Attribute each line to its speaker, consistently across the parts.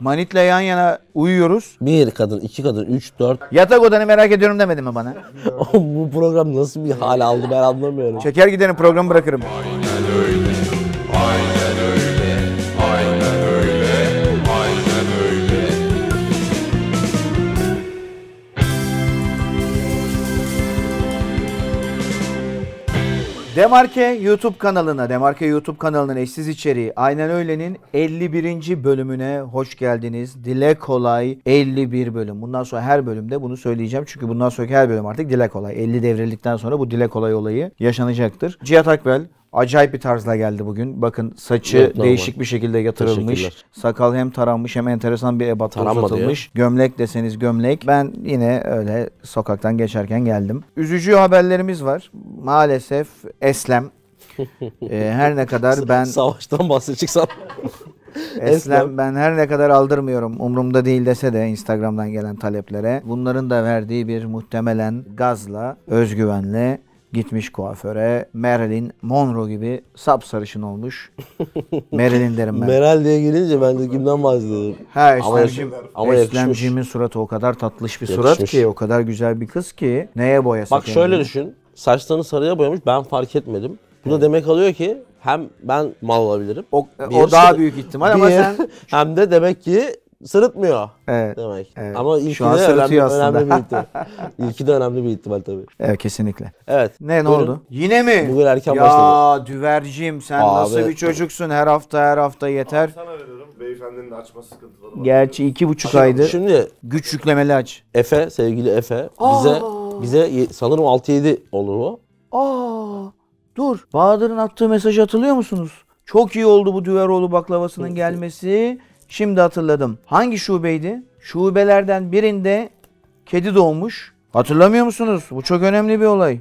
Speaker 1: Manitle yan yana uyuyoruz.
Speaker 2: Bir kadın, iki kadın, üç, dört.
Speaker 1: Yatak odanı merak ediyorum demedi mi bana?
Speaker 2: Bu program nasıl bir hal aldı ben anlamıyorum.
Speaker 1: Çeker giderim programı bırakırım. Demarke YouTube kanalına, Demarke YouTube kanalının eşsiz içeriği Aynen Öyle'nin 51. bölümüne hoş geldiniz. Dile kolay 51 bölüm. Bundan sonra her bölümde bunu söyleyeceğim. Çünkü bundan sonraki her bölüm artık dile kolay. 50 devrildikten sonra bu dile kolay olayı yaşanacaktır. Cihat Akbel acayip bir tarzla geldi bugün. Bakın saçı
Speaker 2: Evet, normal.
Speaker 1: değişik bir şekilde yatırılmış.
Speaker 2: Teşekkürler.
Speaker 1: Sakal hem taranmış hem enteresan bir ebatla
Speaker 2: Taranmadı
Speaker 1: uzatılmış. Gömlek deseniz gömlek. Ben yine öyle sokaktan geçerken geldim. Üzücü haberlerimiz var. Maalesef Eslem. Ee, her ne kadar ben
Speaker 2: Savaştan bahsedecek san.
Speaker 1: Eslem ben her ne kadar aldırmıyorum umurumda değil dese de Instagram'dan gelen taleplere bunların da verdiği bir muhtemelen gazla özgüvenle gitmiş kuaföre Marilyn Monroe gibi sapsarışın olmuş. Marilyn derim ben.
Speaker 2: Meral diye gelince ben de kimden bahsediyorum?
Speaker 1: Ha
Speaker 2: Ama
Speaker 1: Eslemcim,
Speaker 2: yakışmış. Ama
Speaker 1: Eslemcimin suratı o kadar tatlış bir surat
Speaker 2: Yakışmış.
Speaker 1: ki, o kadar güzel bir kız ki neye boyasak.
Speaker 2: Bak şöyle düşün. Saçlarını sarıya boyamış ben fark etmedim. Bu da demek alıyor ki hem ben mal olabilirim.
Speaker 1: O,
Speaker 2: Bir-
Speaker 1: o daha büyük ihtimal ama
Speaker 2: bir-
Speaker 1: sen
Speaker 2: hem de demek ki sırıtmıyor.
Speaker 1: Evet.
Speaker 2: Demek.
Speaker 1: Evet.
Speaker 2: Ama ilki
Speaker 1: Şu an
Speaker 2: de önemli,
Speaker 1: sırıtıyor aslında.
Speaker 2: önemli bir ihtimal. ilki de önemli bir ihtimal tabii.
Speaker 1: Evet kesinlikle.
Speaker 2: Evet.
Speaker 1: Ne ne
Speaker 2: Buyurun.
Speaker 1: oldu? Yine mi?
Speaker 2: Bugün erken
Speaker 1: ya,
Speaker 2: başladı.
Speaker 1: düvercim sen
Speaker 2: Abi.
Speaker 1: nasıl bir çocuksun her hafta her hafta yeter.
Speaker 3: Sana veriyorum. Beyefendinin açma sıkıntıları var.
Speaker 1: Gerçi iki buçuk aydır.
Speaker 2: Şimdi
Speaker 1: Güç yüklemeli aç.
Speaker 2: Efe, sevgili Efe bize bize ye- sanırım 6-7 olur o.
Speaker 1: Aa, dur. Bahadır'ın attığı mesajı hatırlıyor musunuz? Çok iyi oldu bu Düveroğlu baklavasının gelmesi. Şimdi hatırladım. Hangi şubeydi? Şubelerden birinde kedi doğmuş. Hatırlamıyor musunuz? Bu çok önemli bir olay.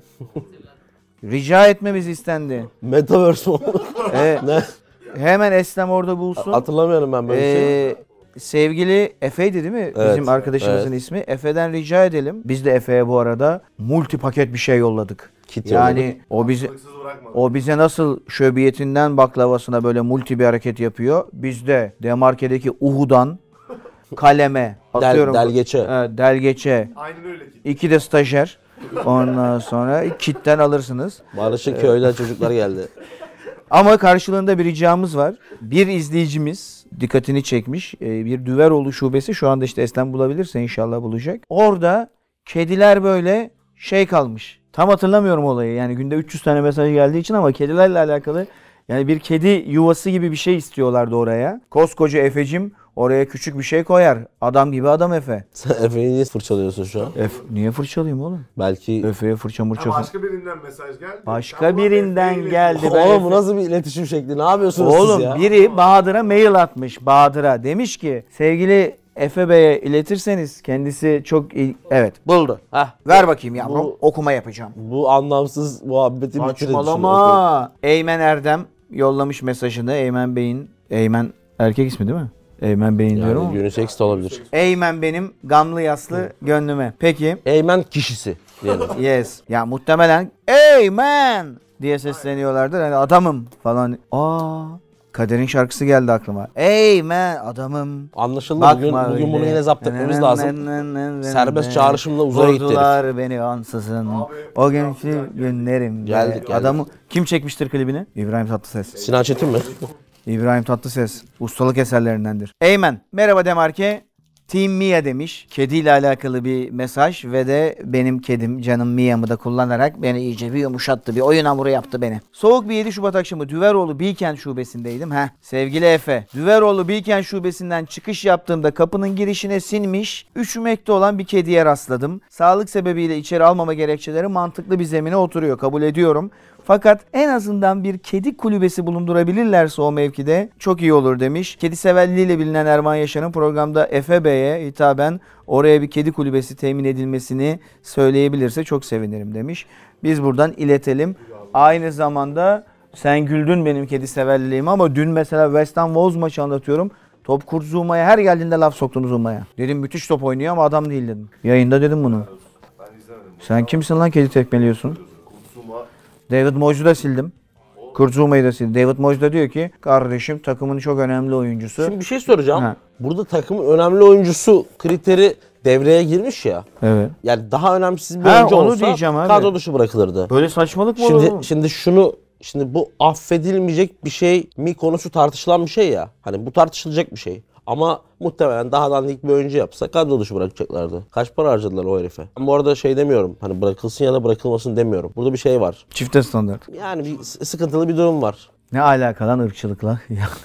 Speaker 1: Rica etmemiz istendi.
Speaker 2: Metaverse mi olur?
Speaker 1: Evet.
Speaker 2: ne?
Speaker 1: Hemen Eslem orada bulsun.
Speaker 2: Hatırlamıyorum ben böyle bir şey.
Speaker 1: Ee, sevgili Efe'ydi değil mi?
Speaker 2: Evet,
Speaker 1: Bizim arkadaşımızın
Speaker 2: evet.
Speaker 1: ismi. Efe'den rica edelim. Biz de Efe'ye bu arada multi paket bir şey yolladık.
Speaker 2: Kit
Speaker 1: yani o bize
Speaker 3: Haksız bırakmadım.
Speaker 1: o bize nasıl şöbiyetinden baklavasına böyle multi bir hareket yapıyor. Biz de demarkedeki Uhu'dan kaleme atıyorum.
Speaker 2: delgeçe.
Speaker 1: Evet, delgeçe.
Speaker 3: Aynen öyle ki.
Speaker 1: İki de stajyer. Ondan sonra kitten alırsınız.
Speaker 2: Barış'ın şey, köyden çocuklar geldi.
Speaker 1: Ama karşılığında bir ricamız var. Bir izleyicimiz dikkatini çekmiş. Ee, Bir Düveroğlu şubesi şu anda işte Eslem bulabilirse inşallah bulacak. Orada kediler böyle şey kalmış. Tam hatırlamıyorum olayı. Yani günde 300 tane mesaj geldiği için ama kedilerle alakalı yani bir kedi yuvası gibi bir şey istiyorlardı oraya. Koskoca Efe'cim oraya küçük bir şey koyar. Adam gibi adam Efe.
Speaker 2: Sen Efe'yi niye fırçalıyorsun şu an?
Speaker 1: Efe niye fırçalayayım oğlum?
Speaker 2: Belki...
Speaker 1: Efe'ye fırça mırça
Speaker 3: Ya
Speaker 1: fır-
Speaker 3: başka birinden mesaj geldi.
Speaker 1: Başka birinden geldi. Ben
Speaker 2: Oğlum
Speaker 1: Efe-
Speaker 2: bu nasıl bir iletişim şekli? Ne yapıyorsunuz
Speaker 1: Oğlum
Speaker 2: siz ya?
Speaker 1: biri Bahadır'a mail atmış. Bahadır'a demiş ki sevgili Efe Bey'e iletirseniz kendisi çok iyi. Evet buldu.
Speaker 2: Heh,
Speaker 1: Ver bakayım yavrum
Speaker 2: Bu-
Speaker 1: okuma yapacağım.
Speaker 2: bu anlamsız muhabbeti bitirin. şimdi.
Speaker 1: Saçmalama. Eymen Erdem yollamış mesajını. Eymen Bey'in, Eymen erkek ismi değil mi? Eymen Bey'in diyorum ama.
Speaker 2: Yani unisex de olabilir.
Speaker 1: Eymen benim gamlı yaslı gönlüme. Peki.
Speaker 2: Eymen kişisi diyelim.
Speaker 1: Yes. Ya muhtemelen Eymen diye sesleniyorlardır. Hani adamım falan. Aa. Kader'in şarkısı geldi aklıma. Eymen adamım.
Speaker 2: Anlaşıldı
Speaker 1: Bakma
Speaker 2: bugün, bugün bunu
Speaker 1: öyle.
Speaker 2: yine zapt etmemiz lazım. Serbest çağrışımla uzaya gitti
Speaker 1: Vurdular beni ansızın. o günkü günlerim.
Speaker 2: Geldik, geldik.
Speaker 1: Adamı kim çekmiştir klibini? İbrahim Tatlıses.
Speaker 2: Sinan Çetin mi?
Speaker 1: İbrahim Tatlıses. Ustalık eserlerindendir. Eymen. Merhaba Demarke. Team Mia demiş. Kediyle alakalı bir mesaj ve de benim kedim canım Mia'mı da kullanarak beni iyice bir yumuşattı. Bir oyun hamuru yaptı beni. Soğuk bir 7 Şubat akşamı Düveroğlu Bilkent şubesindeydim. Heh. Sevgili Efe. Düveroğlu Bilkent şubesinden çıkış yaptığımda kapının girişine sinmiş, üşümekte olan bir kediye rastladım. Sağlık sebebiyle içeri almama gerekçeleri mantıklı bir zemine oturuyor. Kabul ediyorum. Fakat en azından bir kedi kulübesi bulundurabilirlerse o mevkide çok iyi olur demiş. Kedi severliğiyle bilinen Erman Yaşar'ın programda Efe Bey'e hitaben oraya bir kedi kulübesi temin edilmesini söyleyebilirse çok sevinirim demiş. Biz buradan iletelim. Aynı zamanda sen güldün benim kedi severliğime ama dün mesela West Ham Wolves maçı anlatıyorum. Top kurt Zuma'ya her geldiğinde laf soktun Zuma'ya. Dedim müthiş top oynuyor ama adam değil dedim. Yayında dedim bunu. Sen kimsin lan kedi tekmeliyorsun?
Speaker 3: Kutsuma.
Speaker 1: David Moyes'u da sildim. Kurt Zooma'yı da sildi. David Moyes da diyor ki kardeşim takımın çok önemli oyuncusu.
Speaker 2: Şimdi bir şey soracağım.
Speaker 1: Ha.
Speaker 2: Burada takımın önemli oyuncusu kriteri devreye girmiş ya.
Speaker 1: Evet.
Speaker 2: Yani daha önemsiz bir
Speaker 1: Ha,
Speaker 2: oyuncu
Speaker 1: onu
Speaker 2: olsa
Speaker 1: diyeceğim abi.
Speaker 2: kadro dışı bırakılırdı.
Speaker 1: Böyle saçmalık mı olur? oğlum?
Speaker 2: Şimdi şimdi şunu şimdi bu affedilmeyecek bir şey mi konusu tartışılan bir şey ya. Hani bu tartışılacak bir şey. Ama muhtemelen daha dandik bir oyuncu yapsa kadro dışı bırakacaklardı. Kaç para harcadılar o herife? Ben bu arada şey demiyorum. Hani bırakılsın ya da bırakılmasın demiyorum. Burada bir şey var.
Speaker 1: Çifte standart.
Speaker 2: Yani bir s- sıkıntılı bir durum var.
Speaker 1: Ne alaka lan ırkçılıkla?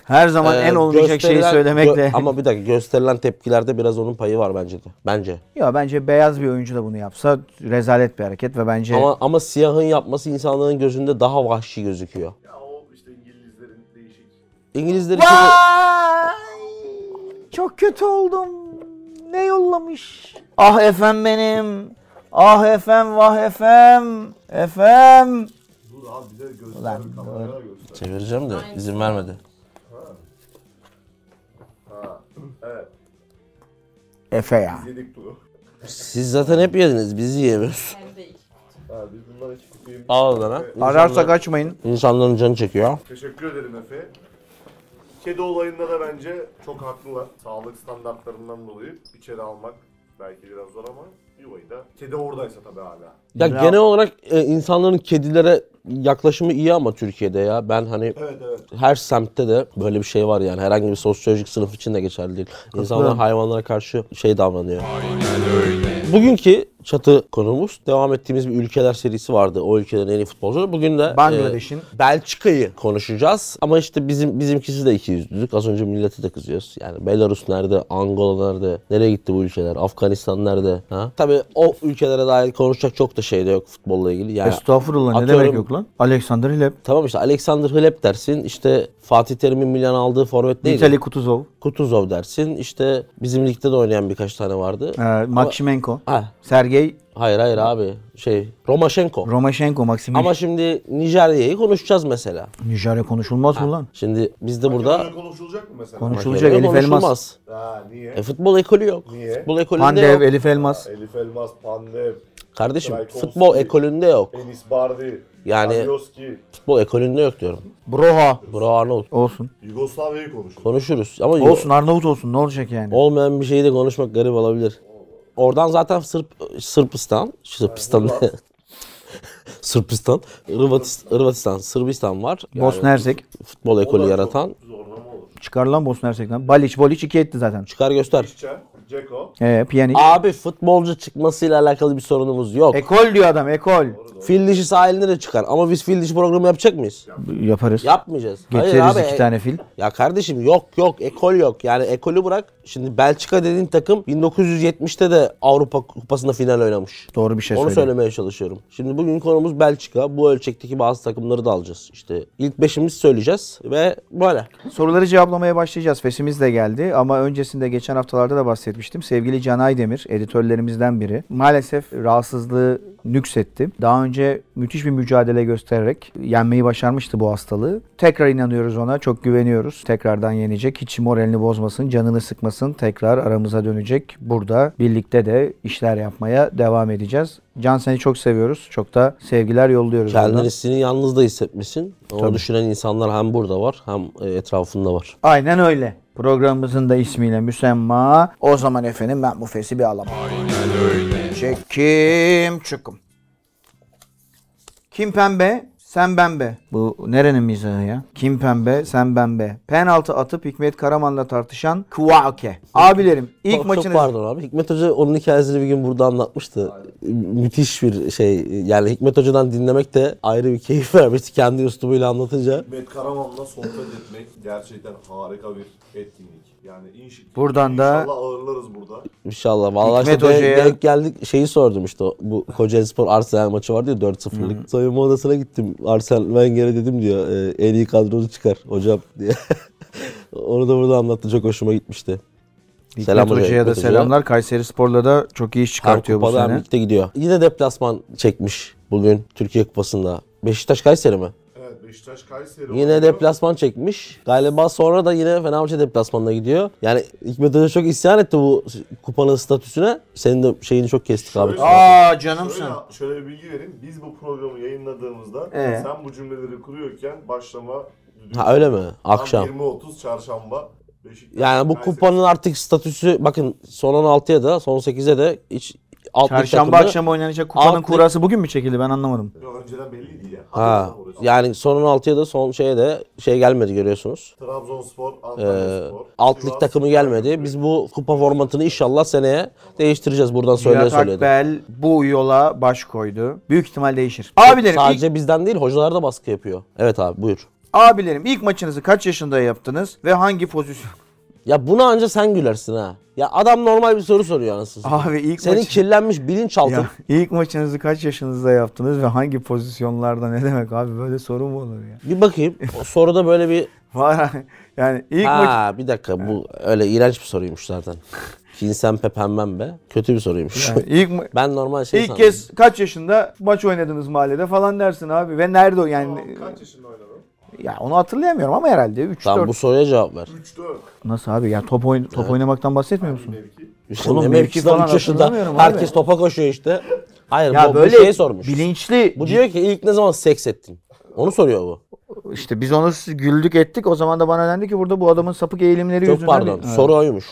Speaker 1: Her zaman
Speaker 2: Ee,
Speaker 1: en olmayacak şeyi
Speaker 2: gösterilen-
Speaker 1: söylemekle.
Speaker 2: gö- ama bir dakika gösterilen tepkilerde biraz onun payı var bence de. Bence.
Speaker 1: Ya bence beyaz bir oyuncu da bunu yapsa rezalet bir hareket ve bence
Speaker 2: Ama ama siyahın yapması insanların gözünde daha vahşi gözüküyor.
Speaker 3: Ya o işte İngilizlerin değişik.
Speaker 2: İngilizler için de-
Speaker 1: Vay! Çok kötü oldum. Ne yollamış? Ah efem benim. Ah efem vah efem. Efem.
Speaker 3: Dur abi bize göster.
Speaker 1: Ulan
Speaker 3: Ulan,
Speaker 1: doğru.
Speaker 3: kameraya göster.
Speaker 2: çevireceğim de izin vermedi.
Speaker 3: Ha. Evet.
Speaker 1: Efe ya.
Speaker 3: Yedik bunu.
Speaker 2: Siz zaten hep yediniz, biz yiyemiyoruz.
Speaker 3: Ha, biz bunlar iki kutuyu...
Speaker 2: Al lan ha.
Speaker 1: Ararsak açmayın.
Speaker 2: İnsanların canı çekiyor.
Speaker 3: Teşekkür ederim Efe. Kedi olayında da bence çok haklılar. Sağlık standartlarından dolayı içeri almak belki biraz zor ama yuvayı da. Kedi oradaysa tabii hala.
Speaker 2: Ya
Speaker 1: Ya-
Speaker 2: genel olarak e, insanların kedilere yaklaşımı iyi ama Türkiye'de ya. Ben hani
Speaker 3: Evet evet.
Speaker 2: her semtte de böyle bir şey var yani. Herhangi bir sosyolojik sınıf için de geçerli değil. İnsanlar hayvanlara karşı şey davranıyor. Bugünkü çatı konumuz devam ettiğimiz bir ülkeler serisi vardı. O ülkelerin en iyi futbolcuları. Bugün de
Speaker 1: Bangladeş'in.
Speaker 2: e, Belçika'yı konuşacağız. Ama işte bizim bizimkisi de iki yüzlülük. Az önce millete de kızıyoruz. Yani Belarus nerede? Angola nerede? Nereye gitti bu ülkeler? Afganistan nerede? Ha? Tabii o ülkelere dair konuşacak çok da şey de yok futbolla ilgili. Yani
Speaker 1: Estağfurullah ne
Speaker 2: Atıyorum.
Speaker 1: demek yok lan? Alexander Hilep.
Speaker 2: Tamam işte Alexander Hleb dersin. İşte Fatih Terim'in Milan aldığı forvet değil.
Speaker 1: Vitali Kutuzov.
Speaker 2: Kutuzov dersin. İşte bizim ligde de oynayan birkaç tane vardı.
Speaker 1: E, Maksimenko.
Speaker 2: Ha,
Speaker 1: Sergey
Speaker 2: hayır hayır abi. Şey Romaşenko.
Speaker 1: Romaşenko. Maksimenko.
Speaker 2: Ama şimdi Nijerya'yı konuşacağız mesela.
Speaker 1: Nijerya konuşulmaz mı lan?
Speaker 2: Şimdi biz de burada
Speaker 3: Burada konuşulacak mı mesela?
Speaker 1: Konuşulacak
Speaker 2: Nijerya
Speaker 1: Elif Elmas.
Speaker 2: konuşulmaz.
Speaker 3: Ha niye?
Speaker 2: E futbol ekolü yok.
Speaker 3: Niye?
Speaker 2: Futbol ekolünde
Speaker 1: Pandev,
Speaker 2: yok.
Speaker 1: Elif Elmas.
Speaker 3: Elif Elmas, Pandev,
Speaker 2: Kardeşim
Speaker 3: Traikovski.
Speaker 2: futbol ekolünde yok.
Speaker 3: Enis Bardi,
Speaker 2: Yani-
Speaker 3: Alioski,
Speaker 2: Futbol ekolünde yok diyorum.
Speaker 1: Broha.
Speaker 2: Bro Arnold.
Speaker 1: Olsun.
Speaker 3: Yugoslavya'yı konuşulacak.
Speaker 2: Konuşuruz ama
Speaker 1: Olsun Arnavut olsun ne olacak yani?
Speaker 2: Olmayan bir şeyi de konuşmak garip olabilir. Oradan zaten Sırp, Sırpistan, Sırpistan, Sırpistan, Hırvatis- Hırvatistan, Sırbistan var. Yani
Speaker 1: Bosna Hersek.
Speaker 2: futbol ekolü yaratan.
Speaker 3: Zorlama olur.
Speaker 1: Çıkar lan Bosna Hersek'ten. Baliç, Boliç 2 etti zaten.
Speaker 2: Çıkar göster.
Speaker 3: İşçe, Ceko,
Speaker 1: Ee, Pjanic.
Speaker 2: Abi futbolcu çıkmasıyla alakalı bir sorunumuz yok.
Speaker 1: Ekol diyor adam, ekol.
Speaker 2: Fil dişi sahiline de çıkar ama biz fil dişi programı yapacak mıyız?
Speaker 1: Yaparız.
Speaker 2: Yapmayacağız.
Speaker 1: Getiririz
Speaker 2: abi,
Speaker 1: iki
Speaker 2: e-
Speaker 1: tane fil.
Speaker 2: Ya kardeşim yok yok ekol yok. Yani ekolü bırak. Şimdi Belçika dediğin takım 1970'te de Avrupa Kupası'nda final oynamış.
Speaker 1: Doğru bir şey
Speaker 2: Onu
Speaker 1: söyle.
Speaker 2: söylemeye çalışıyorum. Şimdi bugün konumuz Belçika. Bu ölçekteki bazı takımları da alacağız. İşte ilk beşimizi söyleyeceğiz ve böyle.
Speaker 1: Soruları cevaplamaya başlayacağız. Fesimiz de geldi ama öncesinde geçen haftalarda da bahsetmiştim. Sevgili Can Aydemir, editörlerimizden biri. Maalesef rahatsızlığı nüksetti. Daha önce müthiş bir mücadele göstererek yenmeyi başarmıştı bu hastalığı. Tekrar inanıyoruz ona, çok güveniyoruz. Tekrardan yenecek. Hiç moralini bozmasın, canını sıkmasın. Tekrar aramıza dönecek. Burada birlikte de işler yapmaya devam edeceğiz. Can seni çok seviyoruz. Çok da sevgiler yolluyoruz. buradan.
Speaker 2: Kendisini yalnız da hissetmesin. Onu düşünen insanlar hem burada var hem e, etrafında var.
Speaker 1: Aynen öyle. Programımızın da ismiyle müsemma. O zaman efendim ben bu fesi bir alamam. Çekim çukum. Kim pembe? Sen pembe. Bu nerenin mizahı ya? Kim pembe? Sen pembe. Penaltı atıp Hikmet Karaman'la tartışan Kuvake. Abilerim ilk
Speaker 2: Çok- Çok
Speaker 1: maçınız...
Speaker 2: pardon abi. Hikmet Hoca onun hikayesini bir gün burada anlatmıştı. Müthiş bir şey. Yani Hikmet Hoca'dan dinlemek de ayrı bir keyif vermişti. Kendi üslubuyla anlatınca.
Speaker 3: Met Karaman'la sohbet etmek gerçekten harika bir etkinlik. Yani inş-
Speaker 1: Buradan da-
Speaker 3: inşallah ağırlarız burada.
Speaker 2: İnşallah. Vallahi
Speaker 1: Hikmet
Speaker 2: işte de-
Speaker 1: Hoca'ya-
Speaker 2: denk geldik. Şeyi sordum işte. o- Bu Kocaeli Spor Arsenal maçı vardı ya 4-0'lık. Soyunma odasına gittim. Arsenal Wenger'e dedim diyor. "e, En iyi kadronu çıkar hocam diye. Onu da burada anlattı. Çok hoşuma gitmişti.
Speaker 1: Hikmet
Speaker 2: Selam hocaya,
Speaker 1: Hoca'ya da
Speaker 2: Hikmet Hoca'ya.
Speaker 1: selamlar. Kayseri Spor'la da çok iyi iş
Speaker 2: Hem
Speaker 1: çıkartıyor bu
Speaker 2: kupada hem
Speaker 1: sene.
Speaker 2: ligde gidiyor. Yine deplasman çekmiş bugün Türkiye Kupası'nda. Beşiktaş Kayseri mi?
Speaker 3: Evet Beşiktaş Kayseri
Speaker 2: Yine
Speaker 3: oynuyor.
Speaker 2: deplasman çekmiş. Galiba sonra da yine Fenerbahçe deplasmanına gidiyor. Yani Hikmet Hoca çok isyan etti bu kupanın statüsüne. Senin de şeyini çok kestik abi.
Speaker 3: Şöyle-
Speaker 1: Aa canımsın.
Speaker 3: Şöyle, şöyle bir bilgi vereyim. Biz bu programı yayınladığımızda
Speaker 1: Ee?
Speaker 3: sen bu cümleleri kuruyorken başlama düdüğü-
Speaker 2: Ha öyle mi?
Speaker 3: Tam
Speaker 2: Akşam.
Speaker 3: 20.30 çarşamba. Beşiktaş,
Speaker 2: Yani bu
Speaker 3: Kayseri.
Speaker 2: kupanın artık statüsü bakın son 16'ya da son 8'e de hiç alt lig
Speaker 1: Çarşamba
Speaker 2: takımı-
Speaker 1: akşamı oynanacak kupanın
Speaker 2: Alt lig-
Speaker 1: kurası bugün mü çekildi ben anlamadım.
Speaker 3: Yok, Önceden belliydi ya.
Speaker 2: Ha, yani son 16'ya da son şeye de şey gelmedi görüyorsunuz.
Speaker 3: Trabzonspor,
Speaker 2: Ee,
Speaker 3: Antalyaspor.
Speaker 2: alt lig
Speaker 3: Sivas,
Speaker 2: takımı gelmedi. Biz bu kupa formatını inşallah seneye değiştireceğiz buradan söyleye
Speaker 1: Cihat
Speaker 2: söyleye.
Speaker 1: Akbel bu yola baş koydu. Büyük ihtimal değişir. Abilerim, ilk,
Speaker 2: Sadece bizden değil hocalar da baskı yapıyor. Evet abi buyur.
Speaker 1: abilerim ilk maçınızı kaç yaşında yaptınız ve hangi pozisyon?
Speaker 2: Ya buna anca sen gülersin ha. Ya adam normal bir soru soruyor anasını. satayım.
Speaker 1: Abi ilk
Speaker 2: Senin
Speaker 1: maç...
Speaker 2: kirlenmiş bilinçaltın.
Speaker 1: Ah, Ya, ilk maçınızı kaç yaşınızda yaptınız ve hangi pozisyonlarda ne demek abi böyle soru mu olur ya?
Speaker 2: Bir bakayım. O soruda böyle bir
Speaker 1: Var abi. yani ilk maç
Speaker 2: Ha bir dakika bu öyle iğrenç bir soruymuş zaten. Kinsen pe pemben be. Kötü bir soruymuş.
Speaker 1: yani ilk ma-
Speaker 2: ben normal şey
Speaker 1: ilk
Speaker 2: sandım.
Speaker 1: kez kaç yaşında maç oynadınız mahallede falan dersin abi ve nerede o
Speaker 3: Tamam,
Speaker 1: yani
Speaker 3: kaç yaşında oynadın?
Speaker 1: ya onu hatırlayamıyorum ama herhalde 3
Speaker 2: Tamam bu
Speaker 1: 4
Speaker 2: soruya cevap ver.
Speaker 3: 3-4.
Speaker 1: nasıl abi yani top oyn top oynamaktan bahsetmiyor musun?
Speaker 3: Mevki.
Speaker 1: Oğlum,
Speaker 2: Oğlum
Speaker 1: mevki
Speaker 2: mevki
Speaker 1: falan
Speaker 2: üç yaşında.
Speaker 1: hatırlamıyorum abi.
Speaker 2: Herkes topa koşuyor işte. Hayır
Speaker 1: Ya
Speaker 2: bu, bu
Speaker 1: böyle
Speaker 2: şeyi sormuş.
Speaker 1: bilinçli
Speaker 2: Bu diyor ki ilk ne zaman seks ettin? Onu soruyor bu.
Speaker 1: işte biz onu güldük ettik o zaman da bana dendi ki burada bu adamın sapık eğilimleri
Speaker 2: Çok
Speaker 1: yüzünden.
Speaker 2: pardon. Soru oymuş.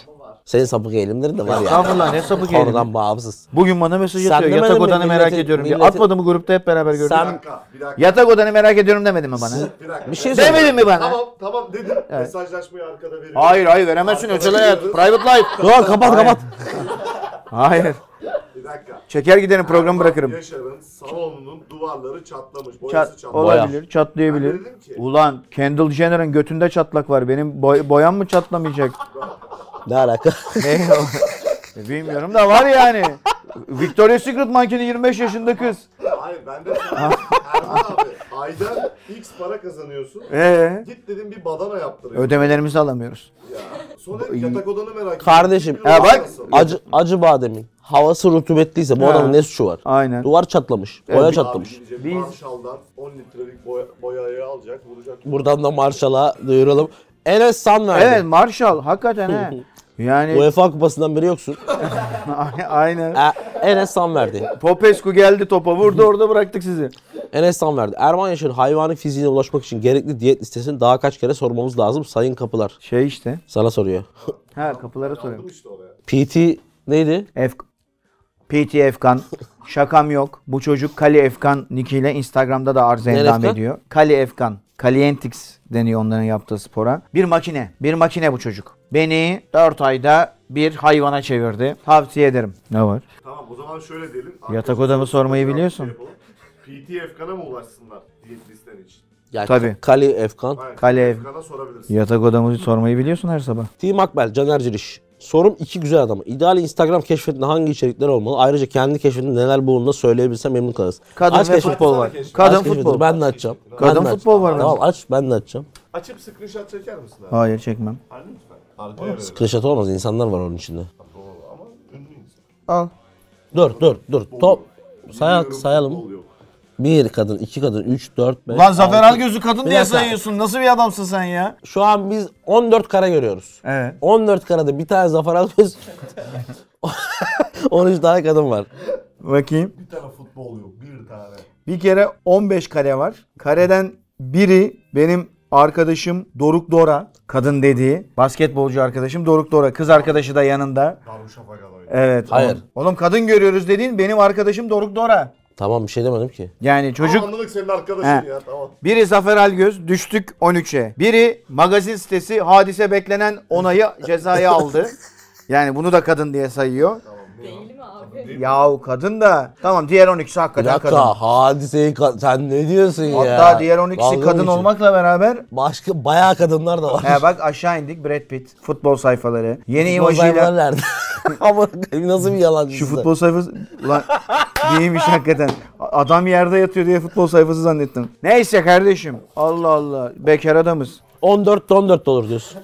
Speaker 2: Senin sapık eğilimlerin de var ya.
Speaker 1: Estağfurullah ne hani- sapık eğilimi.
Speaker 2: Oradan bağımsız.
Speaker 1: Bugün bana mesaj
Speaker 2: Sen
Speaker 1: atıyor.
Speaker 2: demedin
Speaker 1: Yatak
Speaker 2: mi
Speaker 1: odanı merak
Speaker 2: milleti-
Speaker 1: ediyorum diye.
Speaker 2: milleti-
Speaker 1: Atmadı mı grupta hep beraber gördük.
Speaker 3: Bir
Speaker 2: Sen-
Speaker 3: dakika, bir dakika.
Speaker 1: Yatak odanı merak ediyorum demedin mi bana?
Speaker 3: Bir dakika.
Speaker 2: Bir şey söyle.
Speaker 1: Demedin mi bana?
Speaker 3: Tamam tamam dedim. Mesajlaşmayı arkada veriyorum.
Speaker 1: Hayır hayır veremezsin
Speaker 3: Arkada
Speaker 1: özel hayat.
Speaker 3: gidiyoruz.
Speaker 1: Private life.
Speaker 2: Yok kapat kapat.
Speaker 1: Hayır.
Speaker 3: Bir dakika.
Speaker 1: Çeker giderim programı bırakırım.
Speaker 3: Yaşar'ın salonunun duvarları çatlamış. Boyası
Speaker 1: Çat,
Speaker 3: çatlamış.
Speaker 1: olabilir,
Speaker 3: Ben
Speaker 1: çatlayabilir.
Speaker 3: dedim ki-
Speaker 1: Ulan Kendall Jenner'ın götünde çatlak var. Benim boy, boyam mı çatlamayacak?
Speaker 2: Ne alaka?
Speaker 1: ne o? E, Bilmiyorum da var yani. Victoria's Secret mankeni 25 yaşında kız.
Speaker 3: Hayır ben de Erman abi aydan x para kazanıyorsun.
Speaker 1: Ee,
Speaker 3: Git dedim bir badana yaptırayım.
Speaker 1: ödemelerimizi alamıyoruz.
Speaker 3: ya. Sonra yatak odanı merak ettim.
Speaker 2: Kardeşim
Speaker 3: Bir
Speaker 1: bak,
Speaker 3: nasıl?
Speaker 2: acı, acı bademin havası rutubetliyse bu
Speaker 1: Ha.
Speaker 2: adamın ne suçu var?
Speaker 1: Aynen.
Speaker 2: Duvar çatlamış. Boya
Speaker 1: Evet.
Speaker 2: çatlamış.
Speaker 3: Abi gidecek
Speaker 1: Biz-
Speaker 3: Marshall'dan 10 litrelik boya, boyayı alacak vuracak.
Speaker 2: Buradan da Marshall'a duyuralım. Enes San verdi.
Speaker 1: Evet Marshall hakikaten he. Yani
Speaker 2: UEFA kupasından biri yoksun.
Speaker 1: aynen.
Speaker 2: E, Enes San verdi.
Speaker 1: Popescu geldi topa vurdu orada bıraktık sizi.
Speaker 2: Enes San verdi. Erman Yaşar'ın hayvani fiziğine ulaşmak için gerekli diyet listesini daha kaç kere sormamız lazım sayın kapılar.
Speaker 1: Şey işte.
Speaker 2: Sana soruyor.
Speaker 1: Ha kapılara
Speaker 3: Aldım
Speaker 1: soruyorum.
Speaker 3: işte oraya.
Speaker 2: PT neydi?
Speaker 1: F PT Efkan. Şakam yok. Bu çocuk Kali Efkan nickiyle Instagram'da da arıza
Speaker 2: Ne
Speaker 1: endam
Speaker 2: Efkan?
Speaker 1: ediyor. Kali Efkan. Kalientix deniyor onların yaptığı spora. Bir makine. Bir makine bu çocuk. Beni 4 ayda bir hayvana çevirdi. Tavsiye ederim. Ne var?
Speaker 3: Tamam o zaman şöyle diyelim. şey
Speaker 1: Yatak odamı sormayı biliyorsun.
Speaker 3: PT Efkan'a mı ulaşsınlar diyet listen için?
Speaker 2: Ya,
Speaker 1: Tabii.
Speaker 2: Kali Efkan.
Speaker 3: Aynen.
Speaker 1: Kale-
Speaker 3: Efkan'a sorabilirsin.
Speaker 1: Yatak odamızı sormayı biliyorsun her sabah.
Speaker 2: Tim Akbel, Caner Ciriş. Sorum iki güzel adamı. İdeal Instagram keşfetinde hangi içerikler olmalı? Ayrıca kendi keşfinde neler bulunduğunu söyleyebilsem memnun kalırız.
Speaker 1: Kadın
Speaker 2: Aç
Speaker 1: ve
Speaker 2: keşfet-
Speaker 1: futbol var.
Speaker 3: keşfet.
Speaker 1: Kadın
Speaker 2: aç keşfettir.
Speaker 1: futbol.
Speaker 2: Ben de açacağım. Ben
Speaker 1: Kadın
Speaker 2: de
Speaker 1: futbol var
Speaker 2: açacağım. Tamam
Speaker 1: bende.
Speaker 2: aç ben de açacağım.
Speaker 3: Açıp screenshot çeker misin abi?
Speaker 1: Hayır çekmem.
Speaker 3: Hani lütfen. Arkaya verelim.
Speaker 2: Screenshot olmaz insanlar var onun içinde.
Speaker 3: Doğru ama ünlü insan.
Speaker 1: Al.
Speaker 2: Dur dur dur. Top. Say,
Speaker 3: Bilmiyorum,
Speaker 2: sayalım.
Speaker 3: futbol yok.
Speaker 2: Bir kadın, iki kadın, üç, dört, beş,
Speaker 1: Lan Zafer
Speaker 2: altı.
Speaker 1: Al gözü kadın
Speaker 2: Bir
Speaker 1: diye
Speaker 2: dakika.
Speaker 1: sayıyorsun. Nasıl bir adamsın sen ya?
Speaker 2: Şu an biz 14 kara görüyoruz.
Speaker 1: Evet.
Speaker 2: 14 karada bir tane Zafer Algöz. 13 tane kadın var.
Speaker 1: Bakayım.
Speaker 3: Bir tane futbol yok. Bir tane.
Speaker 1: Bir kere 15 kare var. Kareden biri benim arkadaşım Doruk Dora. Kadın dediği. Basketbolcu arkadaşım Doruk Dora. Kız arkadaşı da yanında.
Speaker 3: Darüşşafaka'da oynuyor.
Speaker 1: Evet.
Speaker 2: Hayır.
Speaker 1: Oğlum, oğlum kadın görüyoruz dediğin benim arkadaşım Doruk Dora.
Speaker 2: Tamam bir şey demedim ki.
Speaker 1: Yani çocuk
Speaker 3: Çocuk... Anladık senin arkadaşın
Speaker 1: He.
Speaker 3: ya tamam.
Speaker 1: biri Zafer Algöz düştük 13'e. Biri magazin sitesi hadise beklenen onayı cezaya aldı. Yani bunu da kadın diye sayıyor.
Speaker 4: Değil mi abi?
Speaker 1: Yahu kadın da tamam diğer 12'si
Speaker 2: Bir
Speaker 1: hakikaten kadın.
Speaker 2: dakika hadiseyi ka- sen ne diyorsun ya?
Speaker 1: Hatta diğer 12'si
Speaker 2: Dalga
Speaker 1: kadın
Speaker 2: geçiyor.
Speaker 1: olmakla beraber
Speaker 2: Başka bayağı kadınlar da var.
Speaker 1: He bak aşağı indik Brad Pitt futbol sayfaları. Yeni
Speaker 2: Mozaikler
Speaker 1: imajıyla
Speaker 2: nerede? Ama nasıl bir yalancısın?
Speaker 1: şu futbol sayfası lan değilmiş hakikaten. A- Adam yerde yatıyor diye futbol sayfası zannettim. Neyse kardeşim. Allah Allah. Bekar adamız.
Speaker 2: 14 14 olur diyorsun.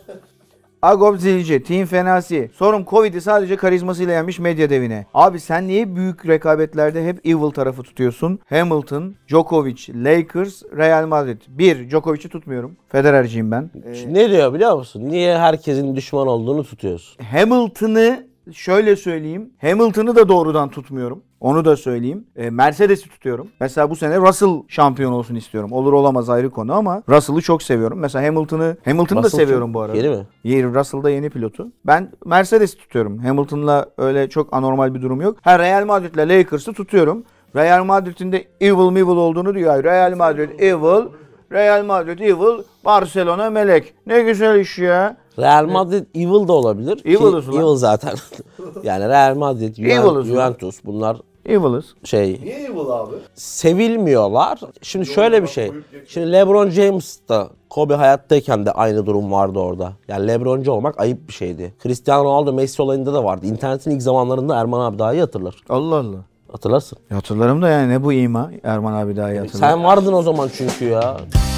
Speaker 1: Agop Zilci, Team Fenasi. Sorum Covid'i sadece karizmasıyla yenmiş medya devine. Abi sen niye büyük rekabetlerde hep evil tarafı tutuyorsun? Hamilton, Djokovic, Lakers, Real Madrid. Bir, Djokovic'i tutmuyorum. Federer'ciyim ben.
Speaker 2: Ne diyor biliyor musun? Niye herkesin düşman olduğunu tutuyorsun?
Speaker 1: Hamilton'ı şöyle söyleyeyim. Hamilton'ı da doğrudan tutmuyorum. Onu da söyleyeyim. E, Mercedes'i tutuyorum. Mesela bu sene Russell şampiyon olsun istiyorum. Olur olamaz ayrı konu ama Russell'ı çok seviyorum. Mesela Hamilton'ı Hamilton'ı da
Speaker 2: Russell
Speaker 1: seviyorum
Speaker 2: çok
Speaker 1: bu arada.
Speaker 2: yeni mi?
Speaker 1: Yeni, Russell da yeni pilotu. Ben Mercedes'i tutuyorum. Hamilton'la öyle çok anormal bir durum yok. Ha Real Madrid'le Lakers'ı tutuyorum. Real Madrid'in de evil mevil olduğunu diyor. Ay, Real Madrid evil, Real Madrid evil, Barcelona melek. Ne güzel iş ya.
Speaker 2: Real
Speaker 1: Ee,
Speaker 2: Madrid Evil de olabilir. ki
Speaker 1: Evil'ız ulan.
Speaker 2: Evil zaten. yani Real Madrid, Juven-
Speaker 1: Evil'ız ulan.
Speaker 2: Juventus bunlar
Speaker 1: Evil'ız.
Speaker 2: şey
Speaker 3: Niye evil abi?
Speaker 2: sevilmiyorlar. Şimdi şöyle bir şey.
Speaker 3: koyup geçiyor.
Speaker 2: Şimdi LeBron James da Kobe hayattayken de aynı durum vardı orada. Yani LeBroncu olmak ayıp bir şeydi. Cristiano Ronaldo Messi olayında da vardı. İnternetin ilk zamanlarında Erman abi daha iyi hatırlar.
Speaker 1: Allah Allah.
Speaker 2: Hatırlarsın.
Speaker 1: Hatırlarım da yani ne bu ima Erman abi daha iyi hatırlar.
Speaker 2: Sen vardın o zaman çünkü ya.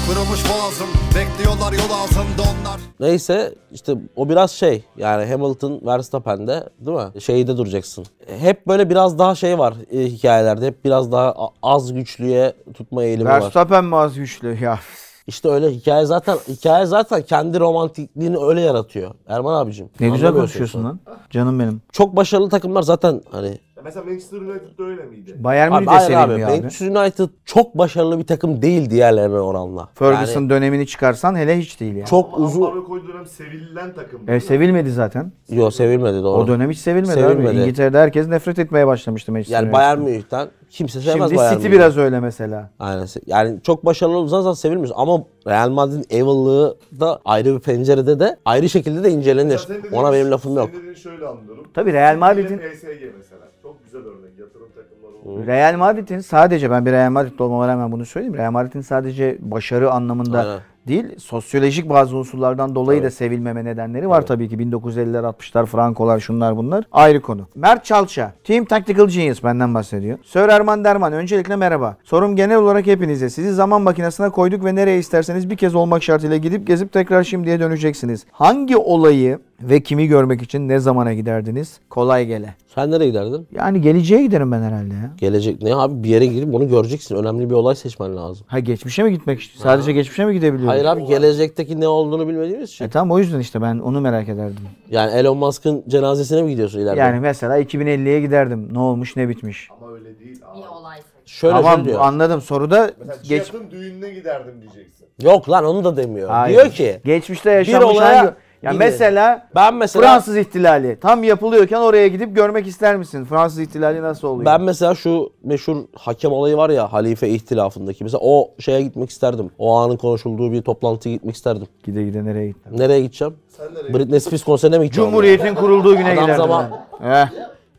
Speaker 4: Kırılmış boğazım Bekliyorlar yol ağzımda onlar
Speaker 2: Neyse işte o biraz şey yani Hamilton Verstappen'de değil mi? Şeyde duracaksın. Hep böyle biraz daha şey var e, hikayelerde. Hep biraz daha a- az güçlüye tutma eğilimi var.
Speaker 1: Verstappen mi az güçlü ya?
Speaker 2: İşte öyle hikaye zaten hikaye zaten kendi romantikliğini öyle yaratıyor. Erman abicim.
Speaker 1: Ne güzel
Speaker 2: anlamıyorsun
Speaker 1: konuşuyorsun
Speaker 2: sen.
Speaker 1: lan. Canım benim.
Speaker 2: Çok başarılı takımlar zaten hani
Speaker 3: Ya mesela Manchester United'da öyle miydi?
Speaker 1: Bayern
Speaker 2: Abi
Speaker 1: Münih de
Speaker 2: hayır
Speaker 1: seveyim
Speaker 2: abi,
Speaker 1: ya abi.
Speaker 2: Manchester United çok başarılı bir takım değil diğerlerine oranla.
Speaker 1: Ferguson
Speaker 2: Yani
Speaker 1: dönemini çıkarsan hele hiç değil ya.
Speaker 2: çok
Speaker 3: Ama
Speaker 2: uzun
Speaker 3: Avrupa'ya koyduğu dönem sevilen takım.
Speaker 1: E, sevilmedi zaten.
Speaker 2: yo sevilmedi doğru.
Speaker 1: O dönem hiç sevilmedi, abi.
Speaker 2: Sevilmedi.
Speaker 1: İngiltere'de herkes nefret etmeye başlamıştı Manchester
Speaker 2: yani
Speaker 1: United'dan.
Speaker 2: Bayern Münih'ten kimse sevmez
Speaker 1: Şimdi
Speaker 2: Bayern
Speaker 1: City
Speaker 2: Münih'i.
Speaker 1: biraz öyle mesela.
Speaker 2: Aynen. Yani çok başarılı olursan zaten sevilmiyoruz. Ama Real Madrid'in evil'lığı da ayrı bir pencerede de ayrı şekilde de incelenir.
Speaker 3: Zaten dediğin-
Speaker 2: Ona benim lafım yok.
Speaker 3: senin dediğini şöyle anlıyorum.
Speaker 1: Tabii Real Madrid'in
Speaker 3: PSG mesela. Çok güzel örnek. Yatırım takımları oldu.
Speaker 1: Real Madrid'in sadece ben bir Real Madrid'de olmama rağmen bunu söyleyeyim. Real Madrid'in sadece başarı anlamında
Speaker 2: Aynen.
Speaker 1: değil, sosyolojik bazı unsurlardan dolayı da sevilmeme nedenleri var tabii ki. 1950'ler, 60'lar, Frankolar, şunlar bunlar. Ayrı konu. Mert Çalça, Team Tactical Genius benden bahsediyor. Sör Erman Derman, öncelikle merhaba. Sorum genel olarak hepinize. Sizi zaman makinesine koyduk ve nereye isterseniz bir kez olmak şartıyla gidip gezip tekrar şimdiye döneceksiniz. Hangi olayı ve kimi görmek için ne zamana giderdiniz? Kolay gele.
Speaker 2: Sen nereye giderdin?
Speaker 1: Yani geleceğe giderim ben herhalde ya.
Speaker 2: Gelecek ne abi bir yere girip bunu göreceksin. Önemli bir olay seçmen lazım.
Speaker 1: Ha geçmişe mi gitmek istiyor? Sadece geçmişe mi gidebiliyorum?
Speaker 2: Hayır abi gelecekteki ne olduğunu bilmediğimiz
Speaker 1: E
Speaker 2: için.
Speaker 1: tamam o yüzden işte ben onu merak ederdim.
Speaker 2: Yani Elon Musk'ın cenazesine mi gidiyorsun ileride?
Speaker 1: Yani mesela 2050'ye giderdim. Ne olmuş ne bitmiş.
Speaker 3: Ama öyle değil abi.
Speaker 5: bir olay
Speaker 2: şöyle
Speaker 1: tamam
Speaker 2: şöyle şey diyor.
Speaker 1: anladım soruda
Speaker 3: Mesela şey
Speaker 1: geç...
Speaker 3: Jeff'in düğününe giderdim diyeceksin.
Speaker 2: Yok lan onu da demiyor.
Speaker 1: Hayır.
Speaker 2: Diyor ki
Speaker 1: Geçmişte yaşanmış
Speaker 2: olaya
Speaker 1: hangi... Ya
Speaker 2: gidin.
Speaker 1: mesela
Speaker 2: ben mesela
Speaker 1: Fransız ihtilali tam yapılıyorken oraya gidip görmek ister misin? Fransız ihtilali nasıl oluyor?
Speaker 2: Ben mesela şu meşhur hakem olayı var ya halife ihtilafındaki. Mesela o şeye gitmek isterdim. O anın konuşulduğu bir toplantıya gitmek isterdim.
Speaker 1: Gide gide nereye gittim?
Speaker 2: Nereye gideceğim?
Speaker 3: Sen nereye
Speaker 2: Britney Spears konserine mi gideceğim?
Speaker 1: Cumhuriyet'in kurulduğu güne
Speaker 2: Adam
Speaker 1: giderdim
Speaker 2: zaman-
Speaker 1: ben. Eh,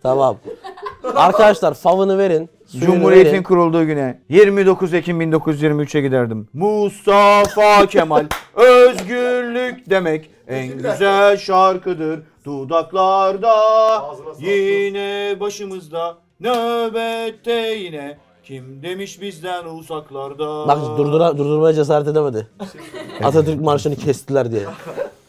Speaker 2: Tamam. Arkadaşlar favını verin. suyunu
Speaker 1: Cumhuriyet'in
Speaker 2: verin.
Speaker 1: kurulduğu güne 29 Ekim 1923'e giderdim. Mustafa Kemal özgürlük demek en güzel şarkıdır. Dudaklarda
Speaker 3: Ağzına sağlık.
Speaker 1: yine başımızda nöbette yine kim demiş bizden uzaklarda.
Speaker 2: Bak durdura, durdurmaya cesaret edemedi. Atatürk marşını kestiler diye.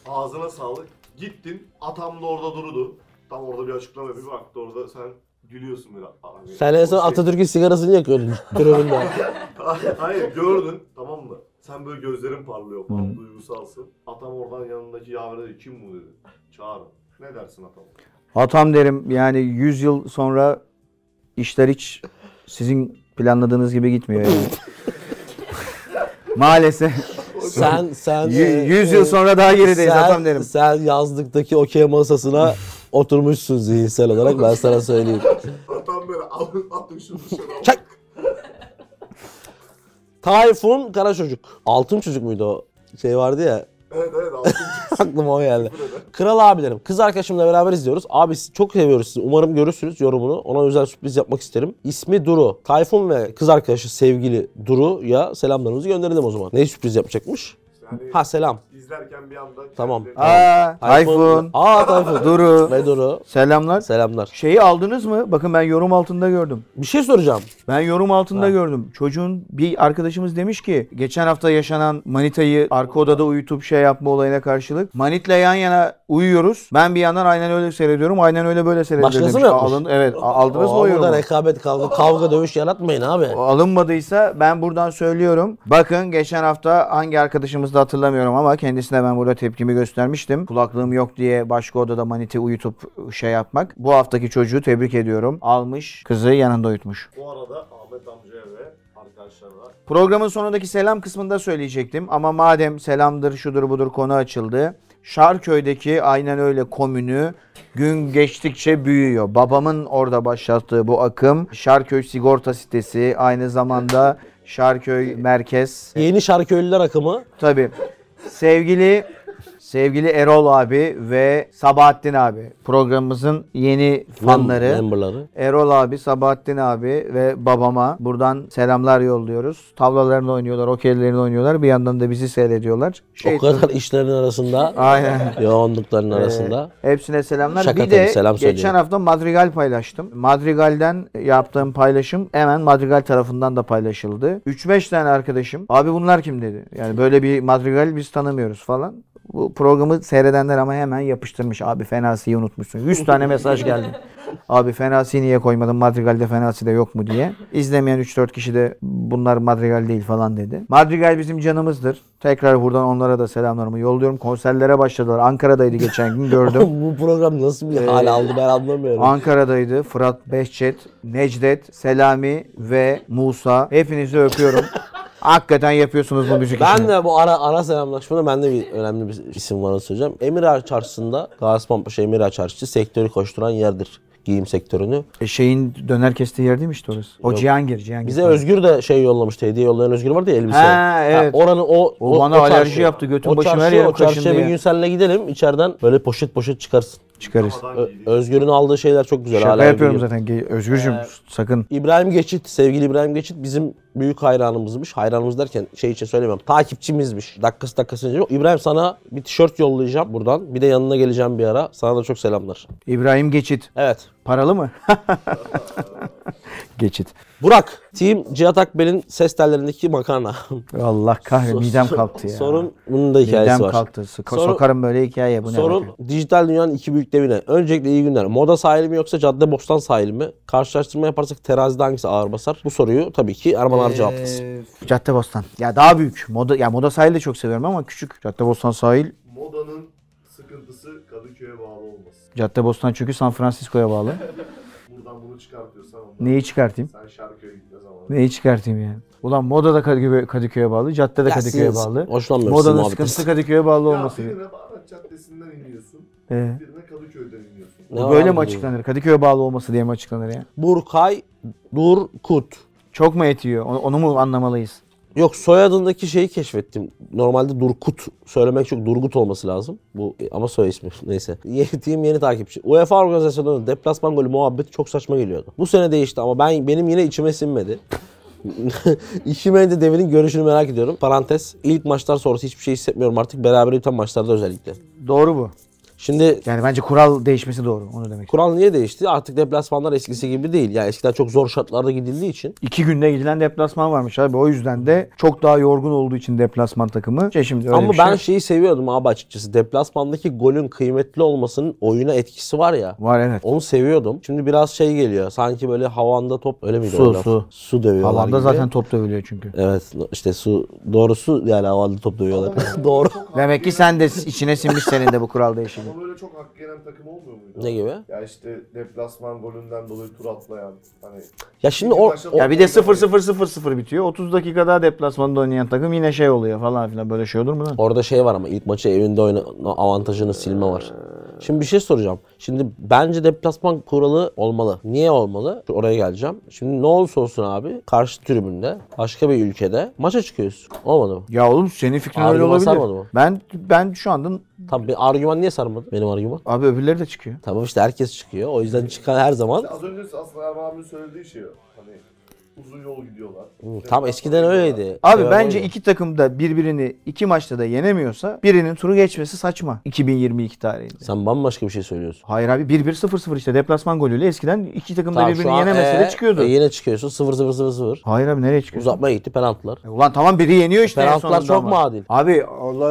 Speaker 3: Ağzına sağlık. Gittin. Atam da orada durdu. Tam orada bir açıklama yapıyor. Bak orada sen gülüyorsun böyle. Abi,
Speaker 2: Sen en son
Speaker 3: o şey-
Speaker 2: Atatürk'ün sigarasını yakıyordun tribünde.
Speaker 3: Hayır gördün. Tamam mı? Sen böyle gözlerin parlıyor. Tam duygusalsın. Atam oradan yanındaki yavru dedi. Kim bu dedi. Çağırın. Ne dersin atam?
Speaker 1: Hatam derim yani 100 yıl sonra işler hiç sizin planladığınız gibi gitmiyor yani. Maalesef.
Speaker 2: sen sen
Speaker 1: Yü-
Speaker 2: e,
Speaker 1: yüz yıl
Speaker 2: e,
Speaker 1: sonra daha gerideyiz
Speaker 2: sen-
Speaker 1: atam derim.
Speaker 2: Sen yazlıktaki okey masasına oturmuşsun zihinsel olarak ben sana söyleyeyim.
Speaker 3: Atam böyle alın atın şunu dışarı.
Speaker 2: Çak. Tayfun Kara Çocuk. Altın Çocuk muydu o? Şey vardı ya.
Speaker 3: evet evet altın
Speaker 2: Aklıma o geldi. Kral abilerim. Kız arkadaşımla beraber izliyoruz. Abi sizi çok seviyoruz sizi. Umarım görürsünüz yorumunu. Ona özel sürpriz yapmak isterim. İsmi Duru. Tayfun ve kız arkadaşı sevgili Duru'ya selamlarımızı gönderelim o zaman. Ne sürpriz yapacakmış?
Speaker 3: İşte Yani
Speaker 2: Ha selam.
Speaker 3: izlerken bir anda...
Speaker 2: Tamam.
Speaker 3: kendileri-
Speaker 1: Aa, Tayfun,
Speaker 2: Aa Tayfun.
Speaker 1: Duru.
Speaker 2: Ve Duru.
Speaker 1: Selamlar.
Speaker 2: Selamlar.
Speaker 1: Şeyi aldınız mı? Bakın ben yorum altında gördüm.
Speaker 2: Bir şey soracağım.
Speaker 1: Ben yorum altında gördüm. Çocuğun bir arkadaşımız demiş ki geçen hafta yaşanan manitayı arka odada uyutup şey yapma olayına karşılık manitle yan yana uyuyoruz. Ben bir yandan aynen öyle seyrediyorum. Aynen öyle böyle seyrediyorum.
Speaker 2: Başkası
Speaker 1: demiş.
Speaker 2: mı yapmış?
Speaker 1: Alın, evet. a- Aldınız mı o
Speaker 2: Oo,
Speaker 1: yorumu?
Speaker 2: Burada rekabet kavga, kavga dövüş yaratmayın abi.
Speaker 1: Alınmadıysa ben buradan söylüyorum. Bakın geçen hafta hangi arkadaşımızı da hatırlamıyorum ama kendisine ben burada tepkimi göstermiştim. Kulaklığım yok diye başka odada maniti uyutup şey yapmak. Bu haftaki çocuğu tebrik ediyorum. Almış kızı yanında uyutmuş.
Speaker 3: Bu arada Ahmet amcaya ve arkadaşlarına
Speaker 1: Programın sonundaki selam kısmında söyleyecektim ama madem selamdır şudur budur konu açıldı. Şarköy'deki aynen öyle komünü gün geçtikçe büyüyor. Babamın orada başlattığı bu akım Şarköy Sigorta Sitesi aynı zamanda Şarköy Merkez.
Speaker 2: Yeni Şarköylüler akımı.
Speaker 1: Tabii sevgili sevgili Erol abi ve Sabahattin abi programımızın yeni fanları.
Speaker 2: Memberları.
Speaker 1: Erol abi, Sabahattin abi ve babama buradan selamlar yolluyoruz. Tavlalarını oynuyorlar, okeylerini oynuyorlar. Bir yandan da bizi seyrediyorlar. Şey- Ee,
Speaker 2: O kadar işlerin arasında,
Speaker 1: Aynen.
Speaker 2: yoğunlukların arasında.
Speaker 1: Hepsine selamlar.
Speaker 2: Şaka
Speaker 1: bir
Speaker 2: tabii,
Speaker 1: de
Speaker 2: selam
Speaker 1: geçen
Speaker 2: söyleyeyim.
Speaker 1: hafta Madrigal paylaştım. Madrigal'den e, yaptığım paylaşım hemen Madrigal tarafından da paylaşıldı. 3-5 tane arkadaşım abi bunlar kim dedi. Yani böyle bir Madrigal biz tanımıyoruz falan. Bu programı seyredenler ama hemen yapıştırmış. Abi Fenasi'yi unutmuşsun. 100 tane mesaj geldi. Abi Fenasi'yi niye koymadın? Madrigal'de Fenasi de yok mu diye. İzlemeyen 3-4 kişi de bunlar Madrigal değil falan dedi. Madrigal bizim canımızdır. Tekrar buradan onlara da selamlarımı yolluyorum. Konserlere başladılar. Ankara'daydı geçen gün gördüm.
Speaker 2: Bu program nasıl bir
Speaker 1: ee,
Speaker 2: hal aldı ben anlamıyorum.
Speaker 1: Ankara'daydı. Fırat Behçet, Necdet, Selami ve Musa. Hepinizi öpüyorum. Hakikaten yapıyorsunuz bu müzik
Speaker 2: Ben
Speaker 1: işini.
Speaker 2: de bu ara ara selamlaşmada ben de bir önemli bir isim var onu söyleyeceğim. Emir Ağa Çarşısı'nda Gazi Pampaşa Emir Ağa Çarşısı sektörü koşturan yerdir giyim sektörünü.
Speaker 1: E şeyin döner kestiği yer değil mi işte orası? O Cihangir, Cihangir.
Speaker 2: Bize Özgür de şey yollamıştı. Hediye yollayan Özgür vardı ya elbise.
Speaker 1: Ha, evet.
Speaker 2: oranın o,
Speaker 1: O bana alerji yaptı, götüm
Speaker 2: o
Speaker 1: başım her
Speaker 2: çarşıya-
Speaker 1: yerim
Speaker 2: O çarşıya
Speaker 1: kaşındı
Speaker 2: bir
Speaker 1: ya.
Speaker 2: gün seninle gidelim. içeriden böyle poşet poşet çıkarsın.
Speaker 1: çıkarız.
Speaker 2: Ö- Özgür'ün aldığı şeyler çok güzel.
Speaker 1: Şaka
Speaker 2: hala Ee,
Speaker 1: yapıyorum
Speaker 2: giyiyor.
Speaker 1: zaten. Ge- Özgürcüm sakın.
Speaker 2: İbrahim Geçit, sevgili İbrahim Geçit bizim büyük hayranımızmış. Hayranımız derken şey için söylemiyorum. Takipçimizmiş. Dakikası dakikası önce. İbrahim sana bir tişört yollayacağım buradan. Bir de yanına geleceğim bir ara. Sana da çok selamlar.
Speaker 1: İbrahim Geçit.
Speaker 2: Evet.
Speaker 1: Paralı mı? Geçit.
Speaker 2: Burak, Team Cihat Akbel'in ses tellerindeki makarna.
Speaker 1: Allah kahretsin. Midem kalktı ya.
Speaker 2: Sorun bunun da hikayesi
Speaker 1: Midem
Speaker 2: var.
Speaker 1: kalktı. Sık-
Speaker 2: Sorun-
Speaker 1: Sokarım böyle hikaye. Bu ne
Speaker 2: Sorun
Speaker 1: bakıyor?
Speaker 2: dijital dünyanın iki büyük devine. Öncelikle iyi günler. Moda sahili mi yoksa cadde bostan sahili mi? Karşılaştırma yaparsak terazide hangisi ağır basar? Bu soruyu tabii ki Erman Arca cevaplasın.
Speaker 1: Ee, Caddebostan. Ya daha büyük. Moda ya moda sahili de çok seviyorum ama küçük. Caddebostan sahil
Speaker 3: Modanın sıkıntısı Kadıköy'e bağlı olması.
Speaker 1: Caddebostan çünkü San Francisco'ya bağlı.
Speaker 3: Buradan bunu çıkartıyorsan ondan.
Speaker 1: Neyi çıkartayım?
Speaker 3: Sen Şarköy'e gitme zamanı.
Speaker 1: Neyi çıkartayım yani? Ulan moda da Kadıköy- Kadıköy'e bağlı, cadde de
Speaker 2: Ya
Speaker 1: Kadıköy'e
Speaker 2: siz
Speaker 1: bağlı.
Speaker 2: hoşlanmıyorsunuz
Speaker 1: Modanın
Speaker 2: muhabbetten.
Speaker 1: sıkıntısı Kadıköy'e bağlı
Speaker 3: Ya
Speaker 1: olması.
Speaker 3: birine Bağdat Caddesi'nden iniyorsun.
Speaker 1: Ee,
Speaker 3: Birine Kadıköy'den iniyorsun.
Speaker 2: Ne
Speaker 1: bu
Speaker 2: var
Speaker 1: böyle
Speaker 2: abi
Speaker 1: mi
Speaker 2: bu?
Speaker 1: açıklanır? Kadıköy'e bağlı olması diye mi açıklanır ya?
Speaker 2: Burkay Durkut.
Speaker 1: Çok mu et yiyor? Onu, onu mu anlamalıyız?
Speaker 2: Yok soyadındaki şeyi keşfettim. Normalde Durkut söylemek çok Durgut olması lazım. Bu e, ama soy ismi neyse. Yettiğim yeni takipçi. UEFA organizasyonlarında deplasman golü muhabbeti çok saçma geliyordu. Bu sene değişti ama ben benim yine içime sinmedi. İşime de Devin'in görüşünü merak ediyorum. Parantez. ilk maçlar sonrası hiçbir şey hissetmiyorum artık. Beraber biten maçlarda özellikle.
Speaker 1: Doğru bu.
Speaker 2: Şimdi
Speaker 1: Yani bence kural değişmesi doğru. Onu demek.
Speaker 2: kural niye değişti? Artık deplasmanlar eskisi gibi değil. Yani eskiden çok zor şartlarda gidildiği için
Speaker 1: İki günde gidilen deplasman varmış abi. O yüzden de çok daha yorgun olduğu için deplasman takımı. Şey şimdi öyle
Speaker 2: Ama
Speaker 1: bir
Speaker 2: ben
Speaker 1: şey.
Speaker 2: şeyi seviyordum abi açıkçası. Deplasmandaki golün kıymetli olmasının oyuna etkisi var ya.
Speaker 1: Var evet.
Speaker 2: Onu seviyordum. Şimdi biraz şey geliyor. Sanki böyle havanda top öyle miydi?
Speaker 1: Su,
Speaker 2: o laf?
Speaker 1: su.
Speaker 2: Su dövüyorlar
Speaker 1: Havanda
Speaker 2: gibi.
Speaker 1: zaten top dövülüyor çünkü.
Speaker 2: Evet işte su doğrusu yani havanda top dövüyorlar. Doğru.
Speaker 1: Demek ki sen de içine sinmiş senin de bu kural değişimi.
Speaker 3: Ama böyle çok hak gelen takım olmuyor muydu?
Speaker 2: ne gibi?
Speaker 3: Ya işte deplasman golünden dolayı tur atlayan. Hani
Speaker 2: Ya şimdi o, o-
Speaker 1: Ya bir de 0-0-0-0 bitiyor. 30 dakika daha deplasmanda oynayan takım yine şey oluyor falan filan. Böyle şey olur mu lan?
Speaker 2: orada şey var ama ilk maçı evinde oyna avantajını silme var. Şimdi bir şey soracağım. Şimdi bence deplasman kuralı olmalı. Niye olmalı? Oraya geleceğim. Şimdi ne olursa olsun abi karşı tribünde başka bir ülkede maça çıkıyorsun. Olmadı mı?
Speaker 1: Ya oğlum senin fikrin
Speaker 2: Argüman
Speaker 1: öyle
Speaker 2: sarmadı mı?
Speaker 1: olabilir. Ben ben şu anda
Speaker 2: Tam bir argüman niye sarmadı? Benim argüman.
Speaker 1: abi öbürleri de çıkıyor.
Speaker 2: Tamam işte herkes çıkıyor. O yüzden çıkan her zaman
Speaker 3: az önce aslında Erman abinin söylediği şey o. Hani uzun yol gidiyorlar.
Speaker 2: Hı, Tam eskiden öyleydi.
Speaker 1: Abi
Speaker 2: Seven
Speaker 1: bence
Speaker 2: oydu.
Speaker 1: iki takım da birbirini iki maçta da yenemiyorsa birinin turu geçmesi saçma 2022 tarihinde.
Speaker 2: Sen bambaşka bir şey söylüyorsun.
Speaker 1: Hayır abi 1-1-0-0 işte deplasman golüyle eskiden iki takım da
Speaker 2: Tamam, şu
Speaker 1: birbirini
Speaker 2: an-
Speaker 1: yenemese
Speaker 2: e,
Speaker 1: de çıkıyordu.
Speaker 2: e, yine çıkıyorsun 0-0-0-0.
Speaker 1: Hayır abi nereye çıkıyorsun?
Speaker 2: Uzatmaya gitti penaltılar.
Speaker 1: E Ulan tamam biri yeniyor işte en
Speaker 2: Penaltılar
Speaker 1: sonunda
Speaker 2: çok
Speaker 1: ama.
Speaker 2: adil?
Speaker 1: Abi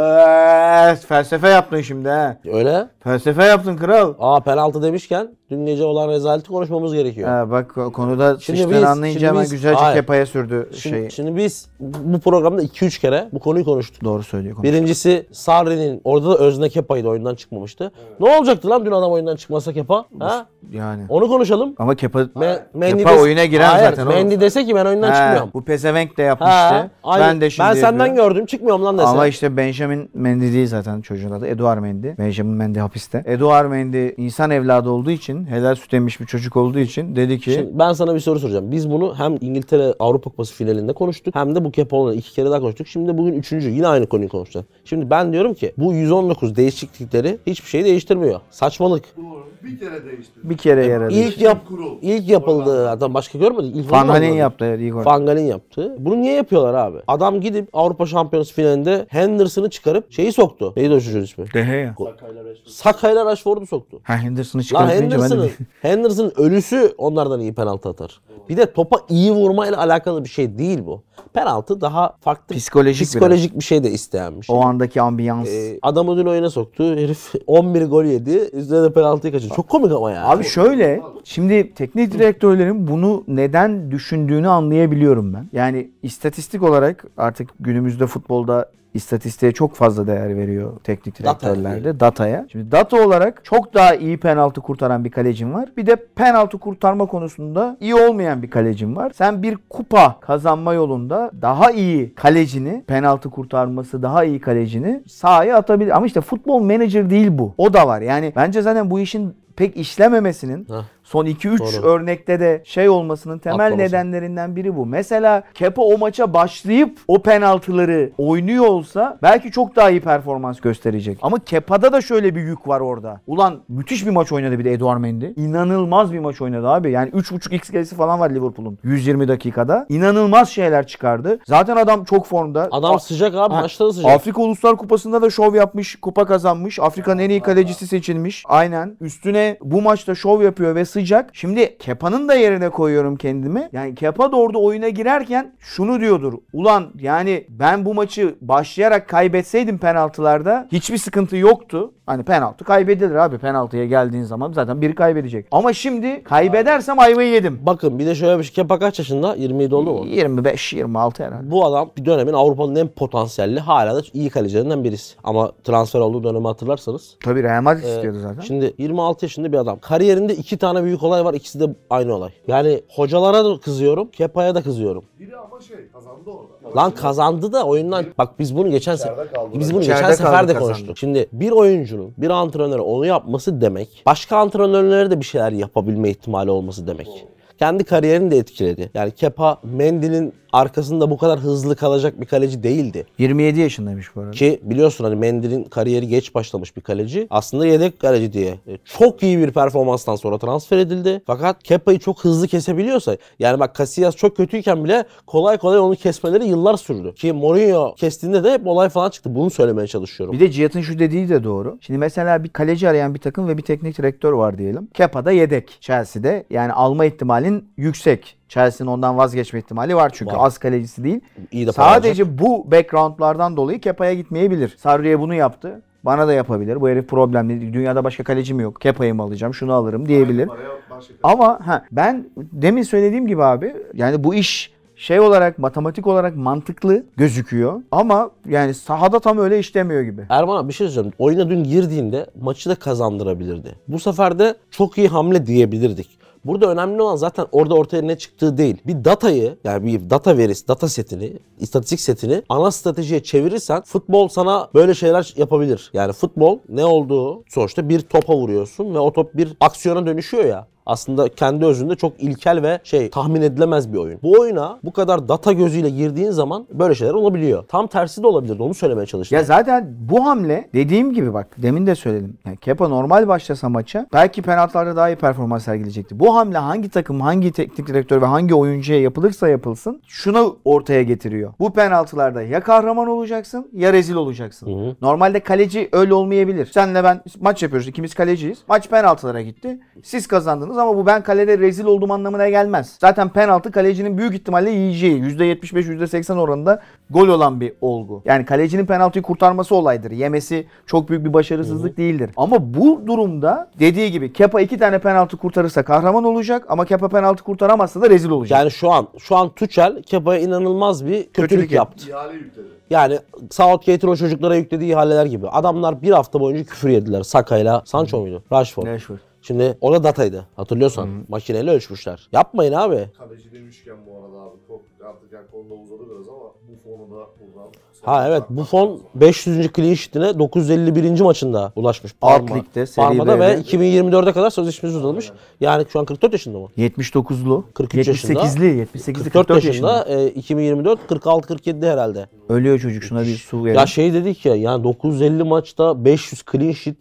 Speaker 1: Allah felsefe yaptın şimdi ha.
Speaker 2: Öyle.
Speaker 1: Felsefe yaptın kral.
Speaker 2: Aa penaltı demişken dün gece olan rezaleti konuşmamız gerekiyor.
Speaker 1: Ha, bak o konuda
Speaker 2: Şimdi
Speaker 1: sıçtığını
Speaker 2: biz-
Speaker 1: anlayınca
Speaker 2: şimdi
Speaker 1: hemen
Speaker 2: biz-
Speaker 1: güzelce
Speaker 2: hayır.
Speaker 1: kepaya sürdü
Speaker 2: Şimdi,
Speaker 1: şeyi.
Speaker 2: şimdi biz bu programda 2-3 kere bu konuyu konuştuk.
Speaker 1: Doğru söylüyor. Bir...
Speaker 2: Birincisi Sarri'nin orada da Özne Kepa'ydı oyundan çıkmamıştı. Ne olacaktı lan dün adam oyundan çıkmasa Kepa? Ha?
Speaker 1: Yani.
Speaker 2: Onu konuşalım.
Speaker 1: Ama Kepa,
Speaker 2: Me- Mendy
Speaker 1: Kepa
Speaker 2: des-
Speaker 1: oyuna giren
Speaker 2: Hayır,
Speaker 1: zaten oğlum.
Speaker 2: Mendy dese ki ben oyundan
Speaker 1: Ha,
Speaker 2: çıkmıyorum.
Speaker 1: Bu pezevenk de
Speaker 2: Ha,
Speaker 1: yapmıştı.
Speaker 2: aynen.
Speaker 1: Ben de şimdi
Speaker 2: ben senden
Speaker 1: yapıyorum.
Speaker 2: gördüm çıkmıyorum lan dese.
Speaker 1: Ama işte Benjamin Mendy değil zaten çocuğun adı. Eduard Mendy. Benjamin Mendy hapiste. Eduard Mendy insan evladı olduğu için, helal süt emmiş bir çocuk olduğu için dedi ki
Speaker 2: Şimdi ben sana bir soru soracağım. Biz bunu hem İngiltere Avrupa Kupası finalinde konuştuk hem de bu Kepa olanı iki kere daha konuştuk. Şimdi bugün üçüncü yine aynı konuyu konuşacağız. Şimdi ben diyorum ki bu 119 değişiklikleri hiçbir şeyi değiştirmiyor. Saçmalık.
Speaker 3: Doğru. Bir kere değişti.
Speaker 1: bir kere yaradı.
Speaker 2: E, İlk yap
Speaker 3: Kurul.
Speaker 2: ilk yapıldığı adam başka görmedik. İlk onu
Speaker 1: Van
Speaker 2: da
Speaker 1: Gaalen
Speaker 2: anladım.
Speaker 1: yaptı ilk orada.
Speaker 2: Van Gaal'in yaptığı. Bunu niye yapıyorlar abi? Adam gidip Avrupa Şampiyonası finalinde Henderson'ı çıkarıp şeyi soktu. Neydi o çocuğun ismi?
Speaker 1: Dehe ya.
Speaker 2: Sakayla Rashford'u soktu.
Speaker 1: Ha Henderson'ı
Speaker 2: Lan
Speaker 1: çıkartınca ben de
Speaker 2: Henderson'ın
Speaker 1: bir-
Speaker 2: Henderson'ın ölüsü onlardan iyi penaltı atar. Bir de topa iyi vurmayla alakalı bir şey değil bu. Penaltı daha farklı
Speaker 1: Psikolojik biraz.
Speaker 2: psikolojik bir şey de isteyenmiş.
Speaker 1: o andaki ambiyans.
Speaker 2: Ee, adamı dün oyuna soktu. Herif 11 gol yedi. Üzerine de penaltıyı kaçırdı. Çok komik ama ya.
Speaker 1: Abi şöyle, şimdi teknik direktörlerin bunu neden düşündüğünü anlayabiliyorum ben. Yani istatistik olarak artık günümüzde futbolda istatistiğe çok fazla değer veriyor teknik
Speaker 2: Data.
Speaker 1: direktörlerde, dataya. Şimdi data olarak çok daha iyi penaltı kurtaran bir kalecim var. Bir de penaltı kurtarma konusunda iyi olmayan bir kalecim var. Sen bir kupa kazanma yolunda daha iyi kalecini, penaltı kurtarması daha iyi kalecini sahaya atabilir. Ama işte futbol menajer değil bu. O da var. Yani bence zaten bu işin pek işlememesinin
Speaker 2: Heh.
Speaker 1: son 2-3
Speaker 2: Doğru.
Speaker 1: örnekte de şey olmasının temel
Speaker 2: Atlaması.
Speaker 1: nedenlerinden biri bu. Mesela Kepa o maça başlayıp o penaltıları oynuyor olsa belki çok daha iyi performans gösterecek. Ama Kepa'da da şöyle bir yük var orada. Ulan müthiş bir maç oynadı bir de Eduard Mendy. İnanılmaz bir maç oynadı abi. Yani 3.5 xG'si falan var Liverpool'un 120 dakikada. İnanılmaz şeyler çıkardı. Zaten adam çok formda.
Speaker 2: Adam
Speaker 1: A-
Speaker 2: sıcak abi.
Speaker 1: Ha,
Speaker 2: Maçta da sıcak.
Speaker 1: Afrika Uluslar Kupası'nda da şov yapmış, kupa kazanmış. Afrika'nın en iyi kalecisi seçilmiş. Aynen. Üstüne bu maçta şov yapıyor ve sıcak. Şimdi Kepa'nın da yerine koyuyorum kendimi. Yani Kepa da orada oyuna girerken şunu diyordur. Ulan yani ben bu maçı başlayarak kaybetseydim penaltılarda hiçbir sıkıntı yoktu. Hani penaltı kaybedilir abi. Penaltıya geldiğin zaman zaten biri kaybedecek. Ama şimdi kaybedersem ayvayı yedim.
Speaker 2: Bakın bir de şöyle bir şey. Kepa kaç yaşında? 27 oldu mu?
Speaker 1: 25-26 herhalde.
Speaker 2: Bu adam bir dönemin Avrupa'nın en potansiyelli hala da iyi kalecilerinden birisi. Ama transfer olduğu dönemi hatırlarsanız.
Speaker 1: Tabii Real Madrid
Speaker 2: e,
Speaker 1: istiyordu zaten.
Speaker 2: Şimdi 26 yaşında bir adam. Kariyerinde iki tane büyük olay var. ikisi de aynı olay. Yani hocalara da kızıyorum. Kepa'ya da kızıyorum.
Speaker 3: Biri ama şey kazandı orada.
Speaker 2: Lan kazandı da oyundan. Bak biz bunu geçen sefer
Speaker 3: İçeride kaldı.
Speaker 2: biz bunu
Speaker 1: İçeride
Speaker 2: geçen sefer
Speaker 1: kaldı,
Speaker 2: de
Speaker 1: kazandı.
Speaker 2: konuştuk. Şimdi bir oyuncunun bir antrenöre onu yapması demek başka antrenörlere de bir şeyler yapabilme ihtimali olması demek. Kendi kariyerini de etkiledi. Yani Kepa Mendy'nin arkasında bu kadar hızlı kalacak bir kaleci değildi.
Speaker 1: 27 yaşındaymış bu arada.
Speaker 2: Ki biliyorsun hani Mendy'nin kariyeri geç başlamış bir kaleci. Aslında yedek kaleci diye. E, Çok iyi bir performanstan sonra transfer edildi. Fakat Kepa'yı çok hızlı kesebiliyorsa yani bak Casillas çok kötüyken bile kolay kolay onu kesmeleri yıllar sürdü. Ki Mourinho kestiğinde de hep olay falan çıktı. Bunu söylemeye çalışıyorum.
Speaker 1: Bir de Cihat'ın şu dediği de doğru. Şimdi mesela bir kaleci arayan bir takım ve bir teknik direktör var diyelim. Kepa da yedek Chelsea'de. Yani alma ihtimalin yüksek. Chelsea'nin ondan vazgeçme ihtimali var çünkü
Speaker 2: Var.
Speaker 1: az kalecisi değil.
Speaker 2: İyi de para
Speaker 1: Sadece bu backgroundlardan dolayı Kepa'ya gitmeyebilir. Sarri'ye bunu yaptı. Bana da yapabilir. Bu herif problemli. Dünyada başka kalecim yok. Kepa'yı mı alacağım? Şunu alırım diyebilir.
Speaker 3: Araya başka
Speaker 1: Ama ha, ben demin söylediğim gibi abi yani bu iş şey olarak matematik olarak mantıklı gözüküyor ama yani sahada tam öyle işlemiyor gibi.
Speaker 2: Erman abi bir şey söyleyeceğim. Oyuna dün girdiğinde maçı da kazandırabilirdi. Bu sefer de çok iyi hamle diyebilirdik. Burada önemli olan zaten orada ortaya ne çıktığı değil. Bir datayı yani bir data verisi, data setini, istatistik setini ana stratejiye çevirirsen futbol sana böyle şeyler yapabilir. Yani futbol ne olduğu sonuçta bir topa vuruyorsun ve o top bir aksiyona dönüşüyor ya. aslında kendi özünde çok ilkel ve şey tahmin edilemez bir oyun. Bu oyuna bu kadar data gözüyle girdiğin zaman böyle şeyler olabiliyor. Tam tersi de olabilirdi onu söylemeye çalıştım.
Speaker 1: Ya zaten bu hamle dediğim gibi bak demin de söyledim. Yani Kepa normal başlasa maça belki penaltılarda daha iyi performans sergileyecekti. Bu hamle hangi takım, hangi teknik direktör ve hangi oyuncuya yapılırsa yapılsın şunu ortaya getiriyor. Bu penaltılarda ya kahraman olacaksın ya rezil olacaksın. Normalde kaleci öyle olmayabilir. Senle ben maç yapıyoruz. ikimiz kaleciyiz. Maç penaltılara gitti. Siz kazandınız ama bu ben kalede rezil olduğum anlamına gelmez. Zaten penaltı kalecinin büyük ihtimalle yiyeceği %75-%80 oranında gol olan bir olgu. Yani kalecinin penaltıyı kurtarması olaydır. Yemesi çok büyük bir başarısızlık değildir. Ama bu durumda dediği gibi Kepa iki tane penaltı kurtarırsa kahraman olacak ama Kepa penaltı kurtaramazsa da rezil olacak.
Speaker 2: Yani şu an şu an Tuchel Kepa'ya inanılmaz bir kötülük,
Speaker 1: Kötülük
Speaker 2: yaptı.
Speaker 3: İhale yükledi.
Speaker 2: Yani Southgate'in o çocuklara yüklediği ihaleler gibi. Adamlar bir hafta boyunca küfür yediler. Saka'yla Sancho muydu? Rashford.
Speaker 1: Rashford.
Speaker 2: Şimdi o da dataydı. Hatırlıyorsan. Makineyle ölçmüşler. Yapmayın abi.
Speaker 3: Kaleci demişken bu arada abi çok artık yani konuda uzadı biraz ama bu fonu da buradan.
Speaker 2: Ha evet Buffon 500. clean sheet'ine 951. maçında ulaşmış.
Speaker 1: Alt ligde, Serie
Speaker 2: Parma'da
Speaker 1: B'de.
Speaker 2: ve 2024'e kadar sözleşmesi uzatılmış. Yani şu an 44 yaşında mı?
Speaker 1: 79'lu,
Speaker 2: 43 yaşında.
Speaker 1: 78'li, 78'li
Speaker 2: 44 yaşında, e, 2024 46 47 herhalde.
Speaker 1: Ölüyor çocuk şuna bir su verin.
Speaker 2: Ya şey dedik ya yani 950 maçta 500 clean sheet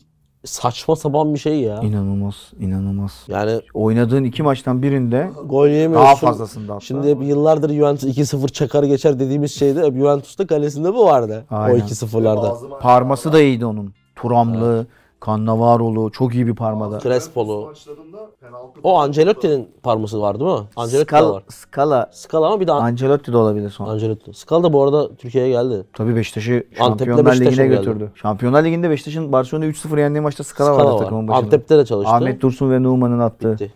Speaker 2: saçma sapan bir şey ya.
Speaker 1: İnanılmaz, inanılmaz.
Speaker 2: Yani
Speaker 1: Oynadığın iki maçtan birinde
Speaker 2: gol yemiyorsun.
Speaker 1: daha fazlasında hatta.
Speaker 2: Şimdi hep yıllardır Juventus 2-0 çakar geçer dediğimiz şeyde hep Juventus'ta kalesinde bu vardı.
Speaker 1: Aynen.
Speaker 2: O 2-0'larda.
Speaker 1: Parması da iyiydi onun. Turamlı, Cannavaro'lu çok iyi bir parmada.
Speaker 2: Crespo'lu.
Speaker 3: Maçlarında penaltı.
Speaker 2: O Ancelotti'nin parması var değil mi? Ancelotti de
Speaker 1: Skala,
Speaker 2: var.
Speaker 1: Skala
Speaker 2: Scala ama bir de An-
Speaker 1: Ancelotti de olabilir sonra.
Speaker 2: Ancelotti. Scala da bu arada Türkiye'ye geldi.
Speaker 1: Tabii Beşiktaş'ı
Speaker 2: Antep'le
Speaker 1: Şampiyonlar
Speaker 2: Beşiktaş'a
Speaker 1: Ligi'ne
Speaker 2: geldi.
Speaker 1: götürdü. Şampiyonlar Ligi'nde Beşiktaş'ın Barcelona 3-0 yendiği maçta Skala,
Speaker 2: Scala
Speaker 1: vardı
Speaker 2: var.
Speaker 1: takımın başında.
Speaker 2: Antep'te de çalıştı.
Speaker 1: Ahmet Dursun ve Numan'ın attığı.
Speaker 2: Gitti.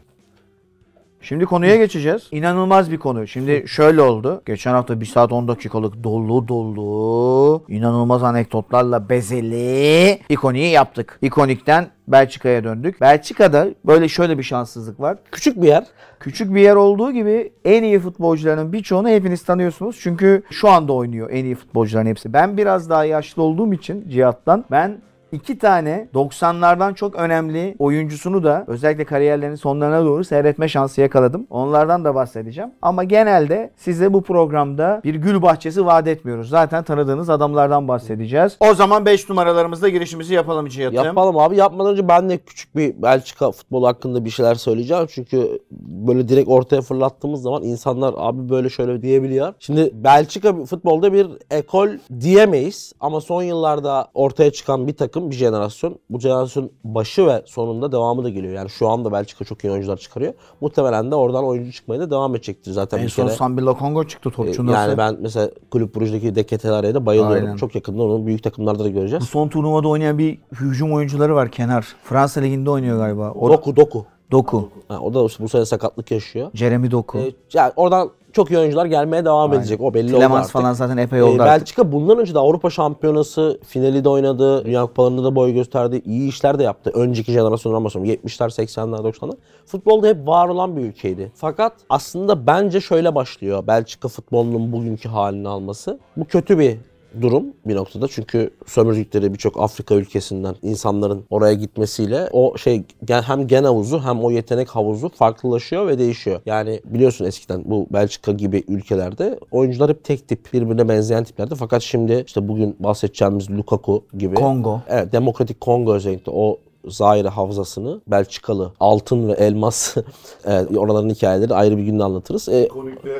Speaker 1: Şimdi konuya geçeceğiz. İnanılmaz bir konu. Şimdi şöyle oldu. Geçen hafta 1 saat 10 dakikalık dolu dolu inanılmaz anekdotlarla bezeli ikoniği yaptık. İkonikten Belçika'ya döndük. Belçika'da böyle şöyle bir şanssızlık var.
Speaker 2: Küçük bir yer.
Speaker 1: Küçük bir yer olduğu gibi en iyi futbolcuların birçoğunu hepiniz tanıyorsunuz. Çünkü şu anda oynuyor en iyi futbolcuların hepsi. Ben biraz daha yaşlı olduğum için Cihat'tan ben iki tane 90'lardan çok önemli oyuncusunu da özellikle kariyerlerinin sonlarına doğru seyretme şansı yakaladım. Onlardan da bahsedeceğim. Ama genelde size bu programda bir gül bahçesi vaat etmiyoruz. Zaten tanıdığınız adamlardan bahsedeceğiz. O zaman 5 numaralarımızda girişimizi yapalım Cihat'ım.
Speaker 2: Yapalım abi. Yapmadan önce ben de küçük bir Belçika futbolu hakkında bir şeyler söyleyeceğim. Çünkü böyle direkt ortaya fırlattığımız zaman insanlar abi böyle şöyle diyebiliyor. Şimdi Belçika futbolda bir ekol diyemeyiz. Ama son yıllarda ortaya çıkan bir takım, bir jenerasyon. Bu jenerasyon başı ve sonunda devamı da geliyor. Yani şu anda Belçika çok iyi oyuncular çıkarıyor. Muhtemelen de oradan oyuncu çıkmaya da devam edecektir zaten.
Speaker 1: En
Speaker 2: bir
Speaker 1: son
Speaker 2: kere.
Speaker 1: Sambilla Kongo çıktı topçunun.
Speaker 2: Yani ben mesela Kulüp Brugge'deki Deketelare'ye de bayılıyorum.
Speaker 1: Aynen.
Speaker 2: Çok yakında onu büyük takımlarda da göreceğiz.
Speaker 1: Son turnuvada oynayan bir hücum oyuncuları var kenar. Fransa liginde oynuyor galiba. O
Speaker 2: Doku Doku.
Speaker 1: Doku.
Speaker 2: Ha, o da işte bu sene sakatlık yaşıyor.
Speaker 1: Jeremy Doku.
Speaker 2: Ee, yani oradan çok iyi oyuncular gelmeye devam edecek. O belli oldu
Speaker 1: Clemens
Speaker 2: artık.
Speaker 1: falan zaten epey
Speaker 2: Ee,
Speaker 1: oldu artık.
Speaker 2: Belçika bundan önce de Avrupa Şampiyonası finali de oynadı. Dünya Kupalarında da boy gösterdi. iyi işler de yaptı. Önceki jenerasyonlar ama sonra 70'ler, 80'ler, 90'lar. Futbolda hep var olan bir ülkeydi. Fakat aslında bence şöyle başlıyor Belçika futbolunun bugünkü halini alması. Bu kötü bir durum bir noktada. Çünkü sömürdükleri birçok Afrika ülkesinden insanların oraya gitmesiyle o şey gen- hem gen havuzu hem o yetenek havuzu farklılaşıyor ve değişiyor. Yani biliyorsun eskiden bu Belçika gibi ülkelerde oyuncular hep tek tip birbirine benzeyen tiplerdi. Fakat şimdi işte bugün bahsedeceğimiz Lukaku gibi.
Speaker 1: Kongo.
Speaker 2: Evet Demokratik Kongo özellikle o Zaire havzasını Belçikalı altın ve elmas evet, oraların hikayeleri ayrı bir günde anlatırız. E,
Speaker 3: Konikte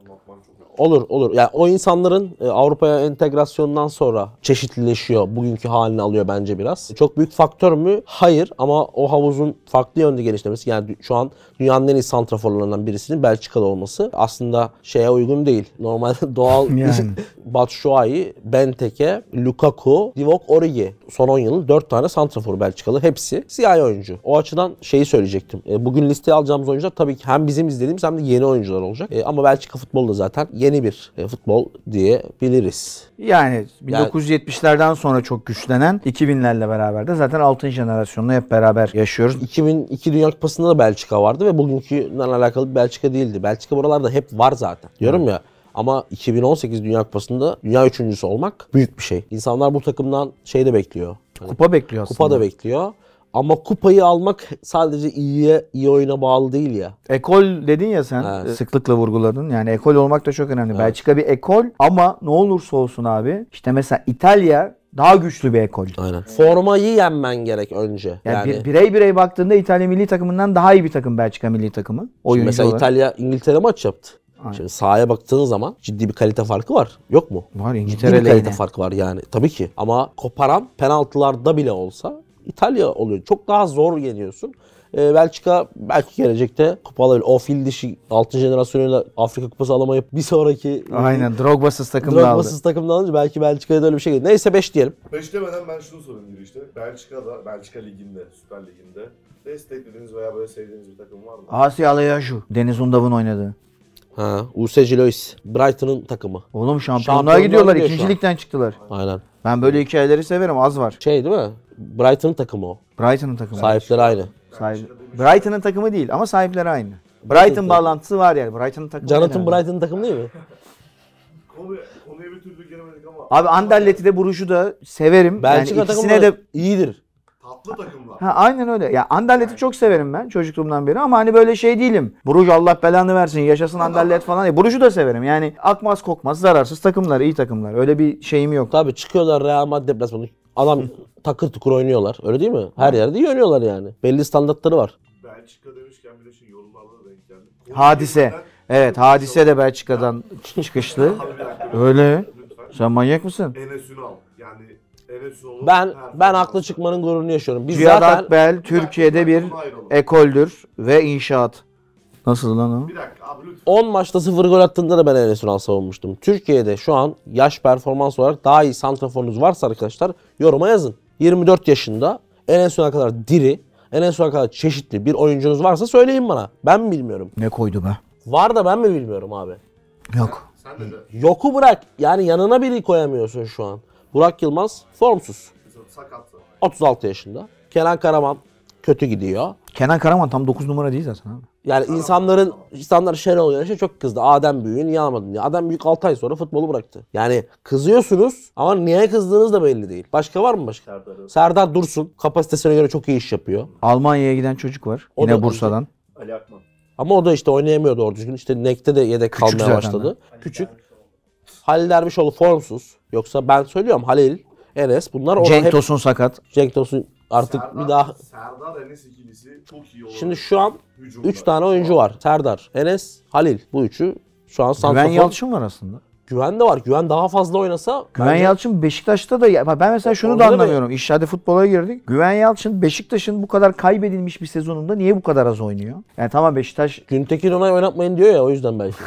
Speaker 3: anlatmam çok
Speaker 2: Olur olur. Yani o insanların e, Avrupa'ya entegrasyondan sonra çeşitlileşiyor. Bugünkü halini alıyor bence biraz. E, Çok büyük faktör mü? Hayır ama o havuzun farklı yönde genişlemesi yani dü- şu an dünyanın en iyi santraforlarından birisinin Belçikalı olması aslında şeye uygun değil. Normal doğal
Speaker 1: Yani.
Speaker 2: Batshuayi, Benteke, Lukaku, Divock Origi. Son 10 yılın 4 tane santrafor Belçikalı. Hepsi siyah oyuncu. O açıdan şeyi söyleyecektim. E, bugün listeye alacağımız oyuncular tabii ki hem bizim izlediğimiz hem de yeni oyuncular olacak. E, ama Belçika futbolu da zaten yeni bir e, futbol diyebiliriz.
Speaker 1: Yani 1970'lerden sonra çok güçlenen 2000'lerle beraber de zaten altın jenerasyonla hep beraber yaşıyoruz.
Speaker 2: 2002 Dünya Kupası'nda da Belçika vardı ve bugünküyle alakalı bir Belçika değildi. Belçika buralarda hep var zaten. Diyorum ya ama 2018 Dünya Kupası'nda dünya üçüncüsü olmak büyük bir şey. İnsanlar bu takımdan şey de bekliyor. Hani
Speaker 1: Kupa bekliyor aslında.
Speaker 2: Kupa da bekliyor. Ama kupayı almak sadece iyiye iyi oyuna bağlı değil ya.
Speaker 1: Ekol dedin ya sen
Speaker 2: Evet.
Speaker 1: e, sıklıkla vurguladın. Yani ekol olmak da çok önemli. Belçika bir ekol ama ne olursa olsun abi işte mesela İtalya daha güçlü bir ekol.
Speaker 2: Aynen. Formayı yenmen gerek önce.
Speaker 1: Yani,
Speaker 2: Yani,
Speaker 1: bir- birey birey baktığında İtalya milli takımından daha iyi bir takım Belçika milli takımı. Oyuncu
Speaker 2: mesela
Speaker 1: olarak.
Speaker 2: İtalya İngiltere maç yaptı. Şimdi sahaya baktığın zaman ciddi bir kalite farkı var. Yok mu?
Speaker 1: Var
Speaker 2: Ciddi bir
Speaker 1: İngiltere'yle
Speaker 2: kalite
Speaker 1: yine.
Speaker 2: farkı var yani. Tabii ki. Ama koparan penaltılarda bile olsa İtalya oluyor. Çok daha zor yeniyorsun. Ee, Belçika belki gelecekte kupa alabilir. O fil dişi 6. jenerasyonuyla Afrika kupası alamayıp bir sonraki
Speaker 1: Aynen Drogba'sız takım da aldı.
Speaker 2: Drogba'sız takımdan alınca belki Belçika'ya da öyle bir şey gelir. Neyse 5 diyelim.
Speaker 3: Beş demeden ben şunu sorayım girişte. Belçika'da, Belçika Ligi'nde, Süper Ligi'nde desteklediğiniz veya böyle sevdiğiniz bir takım var mı?
Speaker 1: Asya Yaju. Deniz Undav'ın oynadığı.
Speaker 2: Ha, UC Gilois. Brighton'ın takımı.
Speaker 1: Oğlum şampiyonluğa
Speaker 2: Şampiyonluğa
Speaker 1: gidiyorlar.
Speaker 2: gidiyor şu
Speaker 1: İkinci
Speaker 2: an.
Speaker 1: ligden çıktılar.
Speaker 2: Aynen.
Speaker 1: Ben böyle hikayeleri severim. Az var.
Speaker 2: Şey değil mi? Brighton'ın takımı o.
Speaker 1: Brighton'ın takımı.
Speaker 2: Sahipleri aynı.
Speaker 1: Sahip. Brighton'ın takımı değil ama sahipleri aynı. Brighton bağlantısı var yani. Brighton'ın takımı.
Speaker 2: Jonathan
Speaker 1: değil abi.
Speaker 2: Brighton'ın takımı değil mi?
Speaker 3: Konuya, konuya bir türlü giremedik ama
Speaker 1: Abi Anderlet'i de Bruges'u da severim.
Speaker 2: Belçika
Speaker 1: yani
Speaker 2: takımı
Speaker 1: ikisine de
Speaker 2: da iyidir.
Speaker 3: tatlı takımlar.
Speaker 1: Ha aynen öyle. Ya Anderlet'i çok severim ben çocukluğumdan beri ama hani böyle şey değilim. Bruges Allah belanı versin, yaşasın Anderlet falan. Ya Bruges'u da severim. Yani akmaz kokmaz zararsız takımlar, iyi takımlar. Öyle bir şeyim yok.
Speaker 2: Tabii çıkıyorlar Real Madrid deplasmanı. Adam takır tukur oynuyorlar. Öyle değil mi? Her yerde iyi oynuyorlar yani. Belli standartları var.
Speaker 3: Belçika demişken bir de şey yorumlarda da denk geldi. Konuya
Speaker 1: Hadise.
Speaker 3: girmeden-
Speaker 1: Evet, Hadise de Belçika'dan çıkışlı.
Speaker 3: Abi bir dakika,
Speaker 1: Öyle.
Speaker 3: Lütfen.
Speaker 1: Sen manyak mısın?
Speaker 2: E,
Speaker 3: Enes Ünal. Yani Enes Ünal'ın
Speaker 2: Ben
Speaker 3: performansı.
Speaker 2: ben haklı çıkmanın gururunu yaşıyorum. Biz
Speaker 1: Cihat
Speaker 2: zaten
Speaker 1: Akbel Türkiye'de bir ekoldür ve inşaat. Nasıl lan o?
Speaker 3: Bir dakika abi lütfen.
Speaker 2: 10 maçta 0 gol attığında da ben Enes Ünal savunmuştum. Türkiye'de şu an yaş performans olarak daha iyi santraforunuz varsa arkadaşlar yoruma yazın. 24 yaşında Enes Ünal kadar diri, Enes Ünal kadar çeşitli bir oyuncunuz varsa söyleyin bana. Ben mi bilmiyorum?
Speaker 1: Ne koydu be?
Speaker 2: Var da ben mi bilmiyorum abi?
Speaker 1: Yok.
Speaker 3: Sen de de.
Speaker 2: Yoku bırak. Yani yanına biri koyamıyorsun şu an. Burak Yılmaz formsuz.
Speaker 3: Sakatsın.
Speaker 2: 36 yaşında. Kenan Karaman kötü gidiyor.
Speaker 1: Kenan Karaman tam 9 numara değil zaten abi.
Speaker 2: Yani insanların insanlar şöyle oluyor. Şey çok kızdı. Adem Büyük'ü niye almadın diye. Adem Büyük 6 ay sonra futbolu bıraktı. Yani kızıyorsunuz ama niye kızdığınız da belli değil. Başka var mı başka?
Speaker 3: Serdar
Speaker 2: Serdar Dursun kapasitesine göre çok iyi iş yapıyor.
Speaker 1: Almanya'ya giden çocuk var.
Speaker 2: O
Speaker 1: Yine
Speaker 2: da-
Speaker 1: Bursa'dan.
Speaker 3: Ali Akman.
Speaker 2: Ama o da işte oynayamıyordu doğru düzgün. İşte Nek'te de yedek kalmaya
Speaker 1: zaten
Speaker 2: başladı. Küçük. Halil Dervişoğlu formsuz. Yoksa ben söylüyorum Halil, Enes bunlar orada
Speaker 1: Cenk
Speaker 2: hep
Speaker 1: Tosun sakat.
Speaker 2: Cenk Tosun artık
Speaker 3: Serdar,
Speaker 2: bir daha
Speaker 3: Serdar Enes ikilisi çok iyi olur.
Speaker 2: Şimdi şu an
Speaker 3: Hücumda.
Speaker 2: 3 tane oyuncu var. Serdar, Enes, Halil. Bu üçü şu an
Speaker 1: Güven
Speaker 2: santrafor.
Speaker 1: Yalçın var aslında.
Speaker 2: Güven de var. Güven daha fazla oynasa
Speaker 1: Güven
Speaker 2: bence
Speaker 1: Yalçın Beşiktaş'ta da ya- ben mesela şunu
Speaker 2: Orada
Speaker 1: da
Speaker 2: da-
Speaker 1: anlamıyorum. İş hadi futbola girdik. Güven Yalçın Beşiktaş'ın bu kadar kaybedilmiş bir sezonunda niye bu kadar az oynuyor? Yani tamam Beşiktaş
Speaker 2: Güntekin Onay oynatmayın diyor ya o yüzden belki.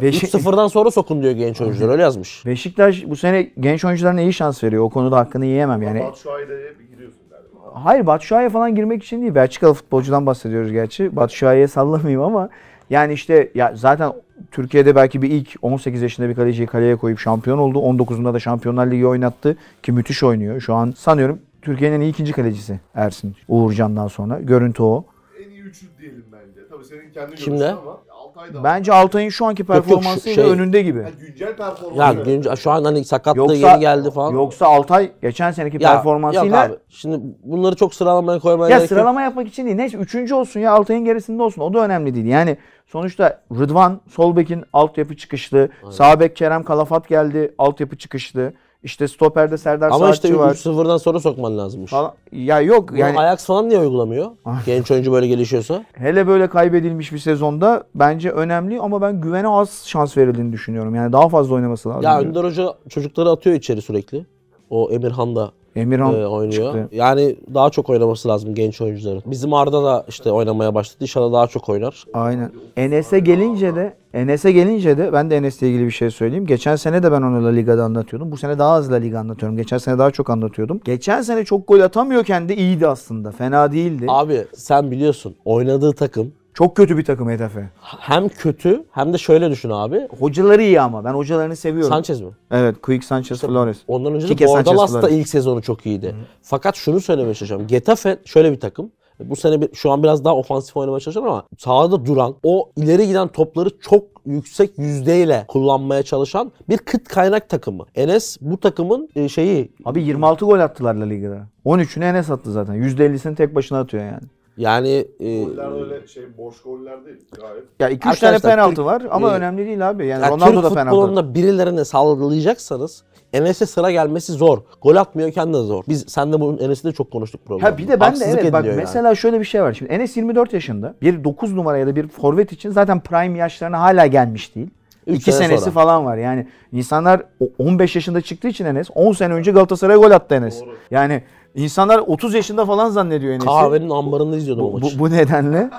Speaker 1: Beşik-
Speaker 2: 3-0'dan sonra sokun diyor genç oyuncular öyle yazmış.
Speaker 1: Beşiktaş bu sene genç oyuncularına iyi şans veriyor. O konuda hakkını yiyemem yani.
Speaker 3: Batshuayi'de bir giriyorsun galiba.
Speaker 1: Hayır Batshuayi'ye falan girmek için değil. Belçikalı futbolcudan bahsediyoruz gerçi. Batshuayi'ye sallamayayım ama yani işte ya zaten Türkiye'de belki bir ilk 18 yaşında bir kaleciyi kaleye koyup şampiyon oldu. 19'unda da Şampiyonlar Ligi oynattı ki müthiş oynuyor. Şu an sanıyorum Türkiye'nin en iyi ikinci kalecisi Ersin Uğurcan'dan sonra. Görüntü o.
Speaker 3: En iyi üçlü diyelim bence. Tabii senin kendi
Speaker 2: Kimle?
Speaker 3: görüşün ama. Altay'da.
Speaker 1: Bence Altay'ın şu anki
Speaker 2: yok, şu-
Speaker 1: performansıyla
Speaker 2: şey-
Speaker 1: önünde gibi.
Speaker 3: Yani güncel performansı.
Speaker 2: Ya günce- şu an hani sakatlığı
Speaker 1: Yoksa-
Speaker 2: yeni geldi falan.
Speaker 1: Yoksa Altay geçen seneki
Speaker 2: Ya, yok
Speaker 1: performansıyla
Speaker 2: abi. Şimdi bunları çok sıralamaya koymaya
Speaker 1: Ya
Speaker 2: gerek yok.
Speaker 1: sıralama yapmak için değil. Neyse üçüncü olsun ya Altay'ın gerisinde olsun. O da önemli değil. Yani sonuçta Rıdvan Solbek'in altyapı çıkışlı. Sağ bek Kerem Kalafat geldi altyapı çıkışlı. İşte stoperde Serdar
Speaker 2: Ama
Speaker 1: Saatçi
Speaker 2: işte
Speaker 1: var.
Speaker 2: 3-0'dan sonra sokman lazımmış.
Speaker 1: Falan. Ya yok
Speaker 2: Yani...
Speaker 1: yani Ah.
Speaker 2: Ajax falan niye uygulamıyor? genç oyuncu böyle gelişiyorsa.
Speaker 1: hele böyle kaybedilmiş bir sezonda bence önemli ama ben güvene az şans verildiğini düşünüyorum. Yani daha fazla oynaması lazım.
Speaker 2: Ya
Speaker 1: diyorum.
Speaker 2: Önder Hoca çocukları atıyor içeri sürekli. O Emirhan da
Speaker 1: Emirhan
Speaker 2: e, oynuyor.
Speaker 1: çıktı.
Speaker 2: Yani daha çok oynaması lazım genç oyuncuların. Bizim Arda da işte oynamaya başladı. İnşallah daha çok oynar.
Speaker 1: Aynen. Enes'e gelince de Enes'e gelince de ben de Enes'le ilgili bir şey söyleyeyim. Geçen sene de ben onu La Liga'da anlatıyordum. Bu sene daha az La Liga anlatıyorum. Geçen sene daha çok anlatıyordum. Geçen sene çok gol atamıyorken de iyiydi aslında. Fena değildi.
Speaker 2: Abi sen biliyorsun oynadığı takım
Speaker 1: Çok kötü bir takım Hedefe.
Speaker 2: hem kötü hem de şöyle düşün abi.
Speaker 1: Hocaları iyi ama. Ben hocalarını seviyorum.
Speaker 2: Sanchez mi?
Speaker 1: Evet. Quick Sanchez Flores.
Speaker 2: Ondan önce de
Speaker 1: Kike
Speaker 2: Bordalas
Speaker 1: Sanchez
Speaker 2: da
Speaker 1: Flores.
Speaker 2: ilk sezonu çok iyiydi. Fakat şunu söylemeye çalışacağım. Getafe şöyle bir takım. Bu sene bir, şu an biraz daha ofansif oynamaya çalışıyor ama sahada duran, o ileri giden topları çok yüksek yüzdeyle kullanmaya çalışan bir kıt kaynak takımı. Enes bu takımın e, şeyi
Speaker 1: Abi 26 gol attılar La Liga'da. 13'ünü Enes attı zaten. %50'sini tek başına atıyor yani.
Speaker 2: yani e,
Speaker 3: Goller öyle şey boş goller değil. Gayet
Speaker 1: Ya 2-3 tane
Speaker 2: Arkadaşlar,
Speaker 1: penaltı
Speaker 2: Türk-
Speaker 1: var ama
Speaker 2: e,
Speaker 1: önemli değil abi. Yani
Speaker 2: yani
Speaker 1: Ronaldo
Speaker 2: Türk
Speaker 1: da penaltı.
Speaker 2: futbolunda birilerine sallayacaksanız Enes'e sıra gelmesi zor. Gol atmıyorken de zor. Biz sen de bunun Enes'i de çok konuştuk programda.
Speaker 1: Ha bir de ben de
Speaker 2: Haksızlık
Speaker 1: evet bak
Speaker 2: ediliyor yani.
Speaker 1: mesela şöyle bir şey var. Şimdi Enes 24 yaşında. Bir 9 numara ya da bir forvet için zaten prime yaşlarına hala gelmiş değil.
Speaker 2: Üç
Speaker 1: 2
Speaker 2: sene
Speaker 1: senesi
Speaker 2: sonra.
Speaker 1: falan var. Yani insanlar o- 15 yaşında çıktığı için Enes 10 sene önce Galatasaray'a gol attı Enes.
Speaker 3: Doğru.
Speaker 1: Yani insanlar 30 yaşında falan zannediyor Enes'i.
Speaker 2: kahvenin ambarında izliyordum o
Speaker 1: bu,
Speaker 2: maçı.
Speaker 1: bu, bu nedenle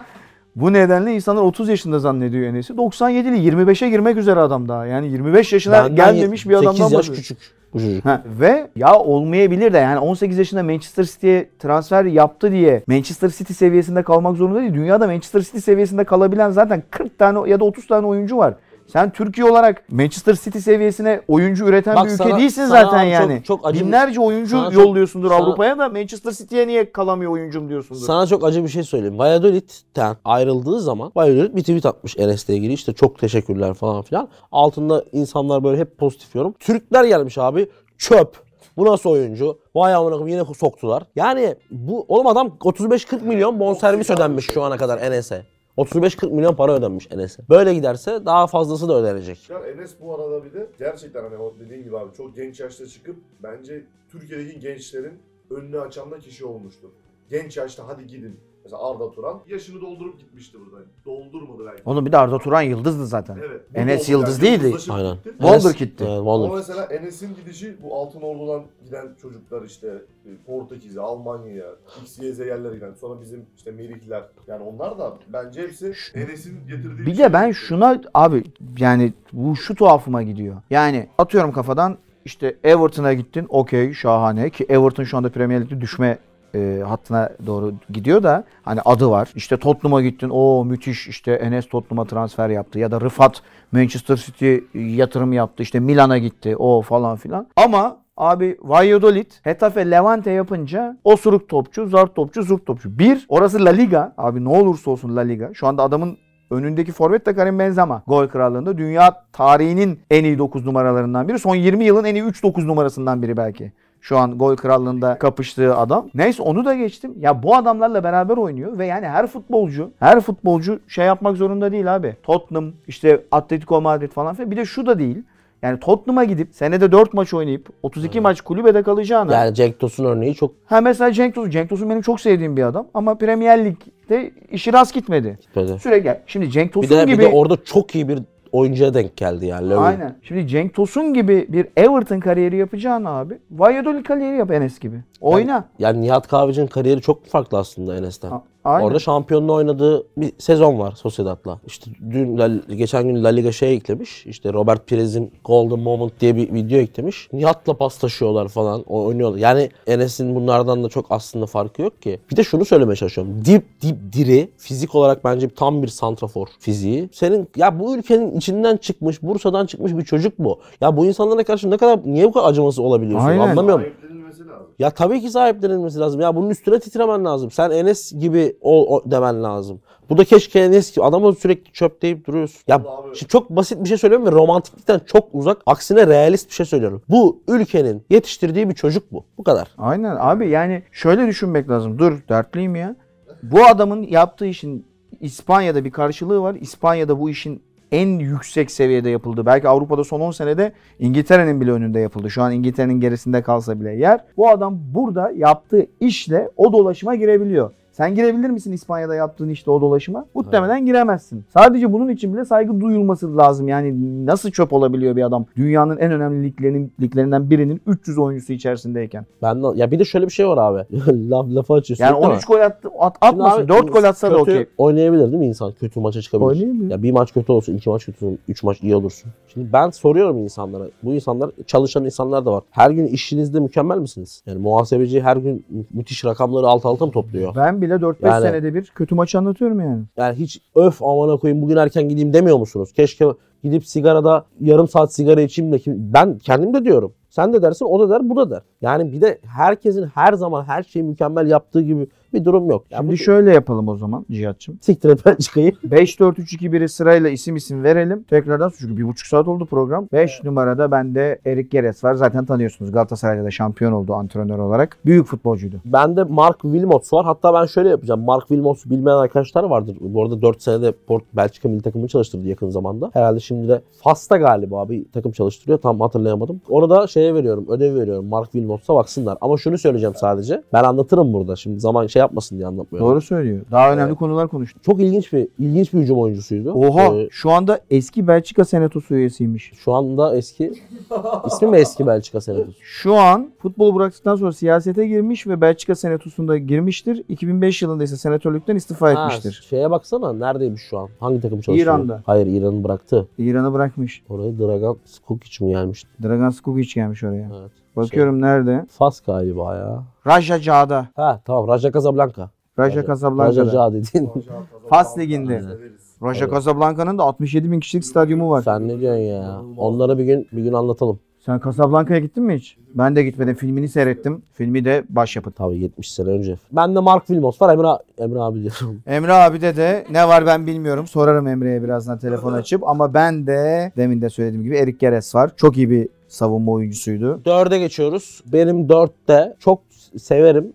Speaker 1: bu nedenle insanlar 30 yaşında zannediyor Enes'i. 97'li 25'e girmek üzere adam daha. Yani 25 yaşına
Speaker 2: Benden
Speaker 1: gelmemiş bir adamdan
Speaker 2: 8 yaş
Speaker 1: bahsediyoruz.
Speaker 2: küçük bu çocuk.
Speaker 1: Ha, ve ya olmayabilir de yani 18 yaşında Manchester City'ye transfer yaptı diye Manchester City seviyesinde kalmak zorunda değil. Dünyada Manchester City seviyesinde kalabilen zaten 40 tane ya da 30 tane oyuncu var. Sen Türkiye olarak Manchester City seviyesine oyuncu üreten
Speaker 2: Bak
Speaker 1: bir ülke
Speaker 2: sana-
Speaker 1: değilsin
Speaker 2: sana
Speaker 1: zaten
Speaker 2: abi çok-
Speaker 1: yani.
Speaker 2: çok acı-
Speaker 1: Binlerce oyuncu
Speaker 2: sana çok-
Speaker 1: yolluyorsundur
Speaker 2: sana-
Speaker 1: Avrupa'ya da Manchester City'ye niye kalamıyor oyuncum diyorsundur.
Speaker 2: Sana çok acı bir şey söyleyeyim. Valladolid'den ayrıldığı zaman Valladolid bir tweet atmış Enes'le ilgili. İşte çok teşekkürler falan filan. Altında insanlar böyle hep pozitif yorum. Türkler gelmiş abi. Çöp. Bu nasıl oyuncu? Vay amına koyayım yine soktular. Yani bu oğlum adam 35-40 milyon bonservis ödenmiş şu ana kadar Enes'e. 35-40 milyon para ödenmiş Enes'e. Böyle giderse daha fazlası da ödenecek.
Speaker 3: Ya Enes bu arada bir de gerçekten hani o dediğin gibi abi çok genç yaşta çıkıp bence Türkiye'deki gençlerin önünü açan da kişi olmuştu. Genç yaşta hadi gidin. Mesela Arda Turan yaşını doldurup gitmişti buradan. Doldurmadı belki.
Speaker 1: Oğlum bir de Arda Turan yıldızdı zaten.
Speaker 3: Evet.
Speaker 1: Enes
Speaker 3: Bu da oldu
Speaker 1: Yıldız
Speaker 3: yani.
Speaker 1: değildi.
Speaker 3: Yıldızlaşıp
Speaker 2: Aynen.
Speaker 3: gitti.
Speaker 1: Wonder
Speaker 2: Enes-
Speaker 1: Kid'ti.
Speaker 2: Evet,
Speaker 3: Ama
Speaker 2: Wonder Kid.
Speaker 3: mesela Enes'in gidişi bu Altın Ordu'dan giden çocuklar işte e, Portekiz'e, Almanya'ya, XYZ yerlere giden sonra bizim işte Melikler yani onlar da bence hepsi Enes'in getirdiği
Speaker 1: Bir
Speaker 3: şey.
Speaker 1: de ben şuna abi yani bu şu tuhafıma gidiyor. Yani atıyorum kafadan işte Everton'a gittin okey şahane ki Everton şu anda Premier Lig'de düşme e, hattına doğru gidiyor da hani adı var. İşte Tottenham'a gittin o müthiş işte Enes Tottenham'a transfer yaptı ya da Rıfat Manchester City yatırım yaptı işte Milan'a gitti o falan filan. Ama Abi Valladolid, Hetafe, Levante yapınca osuruk topçu, zart topçu, zurt topçu. Bir, orası La Liga. Abi ne olursa olsun La Liga. Şu anda adamın Önündeki forvet de Karim Benzema. Gol krallığında dünya tarihinin en iyi 9 numaralarından biri. Son 20 yılın en iyi 3 9 numarasından biri belki. Şu an gol krallığında kapıştığı adam. Neyse onu da geçtim. Ya bu adamlarla beraber oynuyor ve yani her futbolcu, her futbolcu şey yapmak zorunda değil abi. Tottenham, işte Atletico Madrid falan filan. Bir de şu da değil. Yani Tottenham'a gidip senede 4 maç oynayıp 32 maç kulübede kalacağına.
Speaker 2: Yani Cenk Tosun örneği çok
Speaker 1: Ha mesela Cenk Tosun. Cenk Tosun benim çok sevdiğim bir adam ama Premier Lig'de işi rast gitmedi.
Speaker 2: gitmedi.
Speaker 1: Sürekli şimdi Cenk Tosun
Speaker 2: Bir de,
Speaker 1: gibi
Speaker 2: bir de orada çok iyi bir oyuncuya denk geldi yani. Löw.
Speaker 1: Aynen. Şimdi Cenk Tosun gibi bir Everton kariyeri yapacağını abi. Valladolid kariyeri yap Enes gibi. Oyna.
Speaker 2: Yani Nihat Kahveci'nin kariyeri çok farklı aslında Enes'ten.
Speaker 1: A- aynen.
Speaker 2: Orada şampiyonla oynadığı bir sezon var Sociedad'la. İşte dün La- geçen gün La Liga şey eklemiş. İşte Robert Pirez'in Golden Moment diye bir video eklemiş. Nihat'la paslaşıyorlar falan. O oynuyorlar. Yani Enes'in bunlardan da çok aslında farkı yok ki. Bir de şunu söylemeye çalışıyorum. Dip dip diri fizik olarak bence tam bir santrafor fiziği. Senin ya bu ülkenin içinden çıkmış, Bursa'dan çıkmış bir çocuk bu. Ya bu insanlara karşı ne kadar niye bu kadar acımasız olabiliyorsun?
Speaker 1: Aynen.
Speaker 2: Anlamıyorum.
Speaker 3: Sahiplenilmesi lazım.
Speaker 2: Ya tabii ki sahiplenilmesi lazım. Ya bunun üstüne titremen lazım. Sen Enes gibi ol o- demen lazım. Bu da keşke Enes gibi. Adama sürekli çöp deyip duruyorsun. Ya
Speaker 3: Vallahi abi.
Speaker 2: şimdi çok basit bir şey söylüyorum ve romantiklikten çok uzak. Aksine realist bir şey söylüyorum. Bu ülkenin yetiştirdiği bir çocuk bu. Bu kadar.
Speaker 1: Aynen abi yani şöyle düşünmek lazım. Dur dertliyim ya. Bu adamın yaptığı işin İspanya'da bir karşılığı var. İspanya'da bu işin en yüksek seviyede yapıldı. Belki Avrupa'da son 10 senede İngiltere'nin bile önünde yapıldı. Şu an İngiltere'nin gerisinde kalsa bile yer. Bu adam burada yaptığı işle o dolaşıma girebiliyor. Sen girebilir misin İspanya'da yaptığın işte o dolaşıma? Muhtemelen giremezsin. Sadece bunun için bile saygı duyulması lazım. Yani nasıl çöp olabiliyor bir adam? Dünyanın en önemli liglerinin, liglerinden birinin 300 oyuncusu içerisindeyken.
Speaker 2: Ben de, ya bir de şöyle bir şey var abi. Laf lafa açıyorsun.
Speaker 1: Yani
Speaker 2: ama
Speaker 1: 13 gol attı, at,
Speaker 2: şimdi
Speaker 1: atmasın.
Speaker 2: abi
Speaker 1: 4 gol atsa da
Speaker 2: kötü
Speaker 1: okey.
Speaker 2: Oynayabilir değil mi insan? Kötü maça çıkabilir.
Speaker 1: Oynayabilir.
Speaker 2: Ya bir maç kötü olsun, iki maç kötü olsun, üç maç iyi olursun. Şimdi ben soruyorum insanlara. Bu insanlar çalışan insanlar da var. Her gün işinizde mükemmel misiniz? Yani muhasebeci her gün mü- müthiş rakamları alt alta mı topluyor?
Speaker 1: Ben bile 4-5
Speaker 2: Yani-
Speaker 1: senede bir kötü maçı anlatıyorum yani.
Speaker 2: Yani hiç öf amana koyayım bugün erken gideyim demiyor musunuz? Keşke gidip sigarada yarım saat sigara içeyim de kim... ben kendim de diyorum. Sen de dersin, o da der, bu da der. Yani bir de herkesin her zaman her şeyi mükemmel yaptığı gibi bir durum yok. Ya bu-
Speaker 1: Şimdi şöyle yapalım o zaman Cihat'cığım.
Speaker 2: Siktir et ben çıkayım.
Speaker 1: 5-4-3-2-1'i sırayla isim isim verelim. Tekrardan çünkü bir buçuk saat oldu program. 5 numarada bende Erik Geres var. Zaten tanıyorsunuz Galatasaray'da da şampiyon oldu antrenör olarak. Büyük futbolcuydu.
Speaker 2: Bende Mark Wilmots var. Hatta ben şöyle yapacağım. Mark Wilmots'u bilmeyen arkadaşlar vardır. Bu arada 4 senede Port Belçika milli takımı çalıştırdı yakın zamanda. Herhalde şimdi de Fas'ta galiba bir takım çalıştırıyor. Tam hatırlayamadım. Orada şeye veriyorum. Ödev veriyorum. Mark Wilmots'a baksınlar. Ama şunu söyleyeceğim sadece. Ben anlatırım burada. Şimdi zaman şey yapmasın diye anlatmıyorum.
Speaker 1: Doğru söylüyor. Daha önemli konular konuştuk.
Speaker 2: Çok ilginç bir ilginç bir hücum oyuncusuydu.
Speaker 1: Oha
Speaker 2: Ee,
Speaker 1: şu anda eski Belçika Senatosu üyesiymiş.
Speaker 2: şu anda eski ismi mi eski Belçika senatosu?
Speaker 1: Şu an futbolu bıraktıktan sonra siyasete girmiş ve Belçika Senatosu'nda girmiştir. 2005 yılında ise senatörlükten istifa
Speaker 2: Ha,
Speaker 1: etmiştir.
Speaker 2: şeye baksana neredeymiş şu an? Hangi takım çalıştırıyor?
Speaker 1: İran'da.
Speaker 2: Hayır İran'ı bıraktı.
Speaker 1: İran'ı bırakmış.
Speaker 2: Oraya Dragan Skukic mi gelmiş?
Speaker 1: Dragan Skukic gelmiş oraya.
Speaker 2: Evet. şey.
Speaker 1: Bakıyorum nerede?
Speaker 2: Fas galiba ya.
Speaker 1: Raja Cada.
Speaker 2: Ha tamam Raja Casablanca.
Speaker 1: Raja
Speaker 2: Raja
Speaker 1: Casablanca'da.
Speaker 2: Ca dediğin.
Speaker 1: Fas Ligi'nde. Raja
Speaker 2: Evet.
Speaker 1: Casablanca'nın da 67 bin kişilik stadyumu var.
Speaker 2: Sen ne diyorsun ya? Onlara bir gün bir gün anlatalım.
Speaker 1: Sen Casablanca'ya gittin mi hiç? Ben de gitmedim. Filmini seyrettim. Filmi de başyapıt.
Speaker 2: Tabii 70 sene önce. Ben de Mark Wilmos var. Emre, Emre abi diyorum.
Speaker 1: Emre abide de ne var ben bilmiyorum. Sorarım Emre'ye birazdan telefon açıp. Ama ben de demin de söylediğim gibi Erik Geres var. Çok iyi bir savunma oyuncusuydu.
Speaker 2: Dörde geçiyoruz. Benim dörtte çok severim.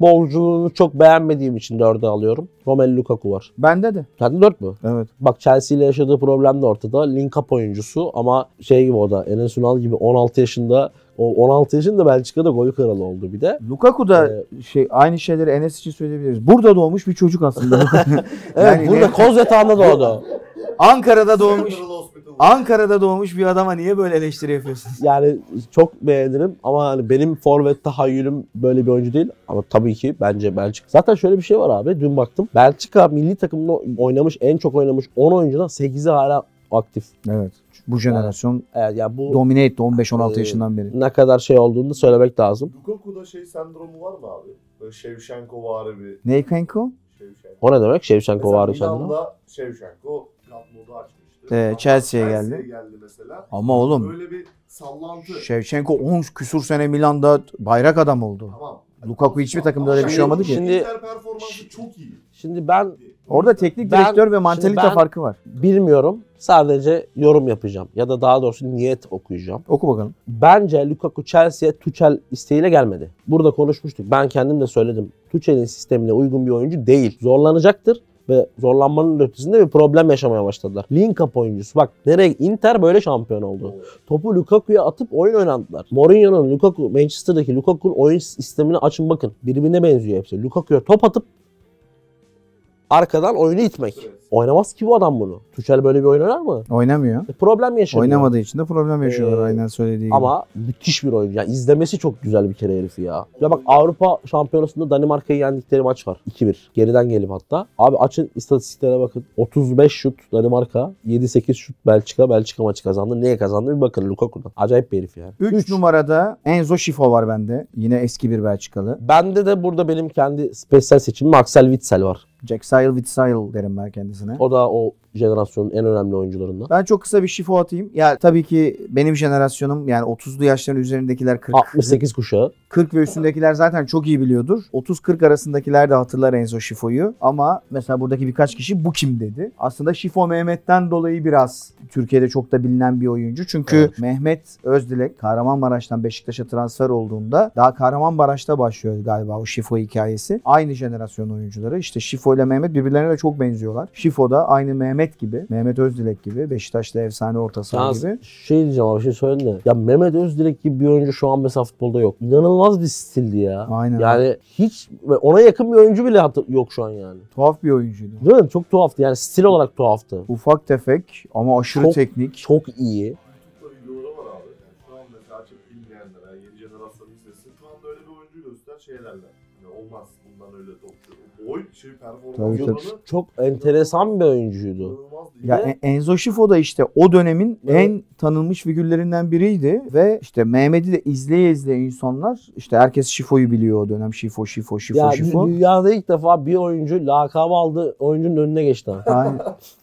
Speaker 2: Futbolculuğunu çok beğenmediğim için dörde alıyorum. Romelu Lukaku var.
Speaker 1: Bende de.
Speaker 2: Sende dört mü?
Speaker 1: Evet.
Speaker 2: Bak Chelsea ile yaşadığı problem de ortada. Link up oyuncusu ama şey gibi o da Enes Ünal gibi 16 yaşında o 16 yaşında Belçika'da gol kralı oldu bir de.
Speaker 1: Lukaku da şey aynı şeyleri Enes için söyleyebiliriz. Burada doğmuş bir çocuk aslında.
Speaker 2: Evet
Speaker 1: Yani
Speaker 2: burada
Speaker 1: ne-
Speaker 2: Kozveta'nda doğdu.
Speaker 1: Ankara'da doğmuş. Ankara'da doğmuş bir adama niye böyle eleştiri yapıyorsun?
Speaker 2: yani çok beğenirim ama hani benim forvet tahayyülüm böyle bir oyuncu değil. Ama tabii ki bence Belçika. Zaten şöyle bir şey var abi. Dün baktım. Belçika milli takımında oynamış, en çok oynamış 10 oyuncudan 8'i hala aktif.
Speaker 1: Evet. Bu jenerasyon
Speaker 2: Evet, yani bu
Speaker 1: domine etti 15-16
Speaker 2: Ee,
Speaker 1: yaşından beri.
Speaker 2: ne kadar şey olduğunu da söylemek lazım.
Speaker 3: Lukaku'da şey sendromu var mı abi? Böyle Şevşenko var bir
Speaker 1: Ney kanka?
Speaker 3: Şevşenko.
Speaker 2: O ne demek? Şevşenko var
Speaker 3: Mesela
Speaker 2: sende.
Speaker 3: Milan'da Şevşenko Gatmo'da açmıştı.
Speaker 1: Ee,
Speaker 3: Ama
Speaker 1: Chelsea'ye geldi.
Speaker 3: geldi mesela.
Speaker 1: Ama oğlum şey,
Speaker 3: Böyle bir sallantı.
Speaker 1: Şevçenko 10 küsur sene Milan'da bayrak adam oldu.
Speaker 3: Tamam.
Speaker 1: Lukaku hiçbir takımda öyle bir şey olmadı ki.
Speaker 2: Şimdi-
Speaker 3: Inter performansı çok iyi.
Speaker 2: Şimdi ben
Speaker 1: Orada teknik
Speaker 2: Ben-
Speaker 1: direktör ve mantalite
Speaker 2: şimdi ben-
Speaker 1: farkı var.
Speaker 2: bilmiyorum. Sadece yorum yapacağım. Ya da daha doğrusu niyet okuyacağım.
Speaker 1: Oku bakalım.
Speaker 2: Bence Lukaku Chelsea'ye Tuchel isteğiyle gelmedi. Burada konuşmuştuk. Ben kendim de söyledim. Tuchel'in sistemine uygun bir oyuncu değil. Zorlanacaktır ve zorlanmanın ötesinde bir problem yaşamaya başladılar. Link up oyuncusu. Bak nereye Inter böyle şampiyon oldu. Topu Lukaku'ya atıp oyun oynandılar. Mourinho'nun Lukaku, Manchester'daki Lukaku'nun oyun sistemini açın bakın. Birbirine benziyor hepsi. Lukaku'ya top atıp arkadan oyunu itmek.
Speaker 3: Evet.
Speaker 2: Oynamaz ki bu adam bunu. Tuchel böyle bir oyun oynar mı?
Speaker 1: Oynamıyor.
Speaker 2: E, Problem yaşanıyor.
Speaker 1: Oynamadığı için de problem yaşıyorlar
Speaker 2: Ee,
Speaker 1: aynen söylediği gibi.
Speaker 2: Ama müthiş bir oyuncu. Yani izlemesi çok güzel bir kere herifi ya. Ya bak Avrupa Şampiyonası'nda Danimarka'yı yendikleri maç var. 2-1. Geriden gelip hatta. Abi açın istatistiklere bakın. 35 şut Danimarka, 7-8 şut Belçika. Belçika maçı kazandı. Niye kazandı bir bakın Lukaku'dan. Acayip bir herif yani.
Speaker 1: 3 numarada Enzo Şifo var bende. Yine eski bir Belçikalı.
Speaker 2: Bende de burada benim kendi spesyal seçimim Axel Witsel var.
Speaker 1: Jack Sile with Sile derim ben kendisine.
Speaker 2: O da o jenerasyonun en önemli oyuncularından.
Speaker 1: Ben çok kısa bir şifo atayım. Ya tabii ki benim jenerasyonum yani 30'lu yaşların üzerindekiler 40,
Speaker 2: 68 kuşağı.
Speaker 1: 40 ve üstündekiler zaten çok iyi biliyordur. 30-40 arasındakiler de hatırlar Enzo Şifo'yu. Ama mesela buradaki birkaç kişi bu kim dedi. Aslında Şifo Mehmet'ten dolayı biraz Türkiye'de çok da bilinen bir oyuncu. Çünkü
Speaker 2: Evet.
Speaker 1: Mehmet Özdilek Kahramanmaraş'tan Beşiktaş'a transfer olduğunda daha Kahramanmaraş'ta başlıyor galiba o Şifo hikayesi. Aynı jenerasyon oyuncuları. İşte Şifo ile Mehmet birbirlerine de çok benziyorlar. Şifo da aynı Mehmet gibi, Mehmet Özdilek gibi, Beşiktaş'ta efsane orta saha
Speaker 2: Yalnız
Speaker 1: gibi.
Speaker 2: şey diyeceğim abi şey söyledin de. Ya Mehmet Özdilek gibi bir oyuncu şu an mesela futbolda yok. İnanılmaz bir stildi ya.
Speaker 1: Aynen.
Speaker 2: Yani hiç ve ona yakın bir oyuncu bile hatır- yok şu an yani.
Speaker 1: Tuhaf bir oyuncuydu.
Speaker 2: Değil mi? Çok tuhaftı yani stil olarak tuhaftı.
Speaker 1: Ufak tefek ama aşırı
Speaker 2: Çok-
Speaker 1: teknik.
Speaker 2: Çok iyi.
Speaker 3: YouTube'da videoları var abi. Yani şu an mesela açıp bilmeyenler, yani yeni jenerasyonun izlesin. Şu anda öyle bir oyuncu göster şey derler. Yani olmaz bundan öyle topçu. Boy şey performans
Speaker 1: Tabii, tabii.
Speaker 3: oranı
Speaker 2: Çok enteresan bir oyuncuydu.
Speaker 3: inanılmazdı.
Speaker 1: Ya
Speaker 2: Ve-
Speaker 1: En- Enzo Şifo da işte o dönemin
Speaker 2: Evet.
Speaker 1: en tanınmış figürlerinden biriydi ve işte Mehmet'i de izleye izleye insanlar işte herkes Şifo'yu biliyor o dönem Şifo Şifo Şifo
Speaker 2: Ya
Speaker 1: Şifo.
Speaker 2: dü- dünyada ilk defa bir oyuncu lakabı aldı oyuncunun önüne geçti.
Speaker 1: Aynen.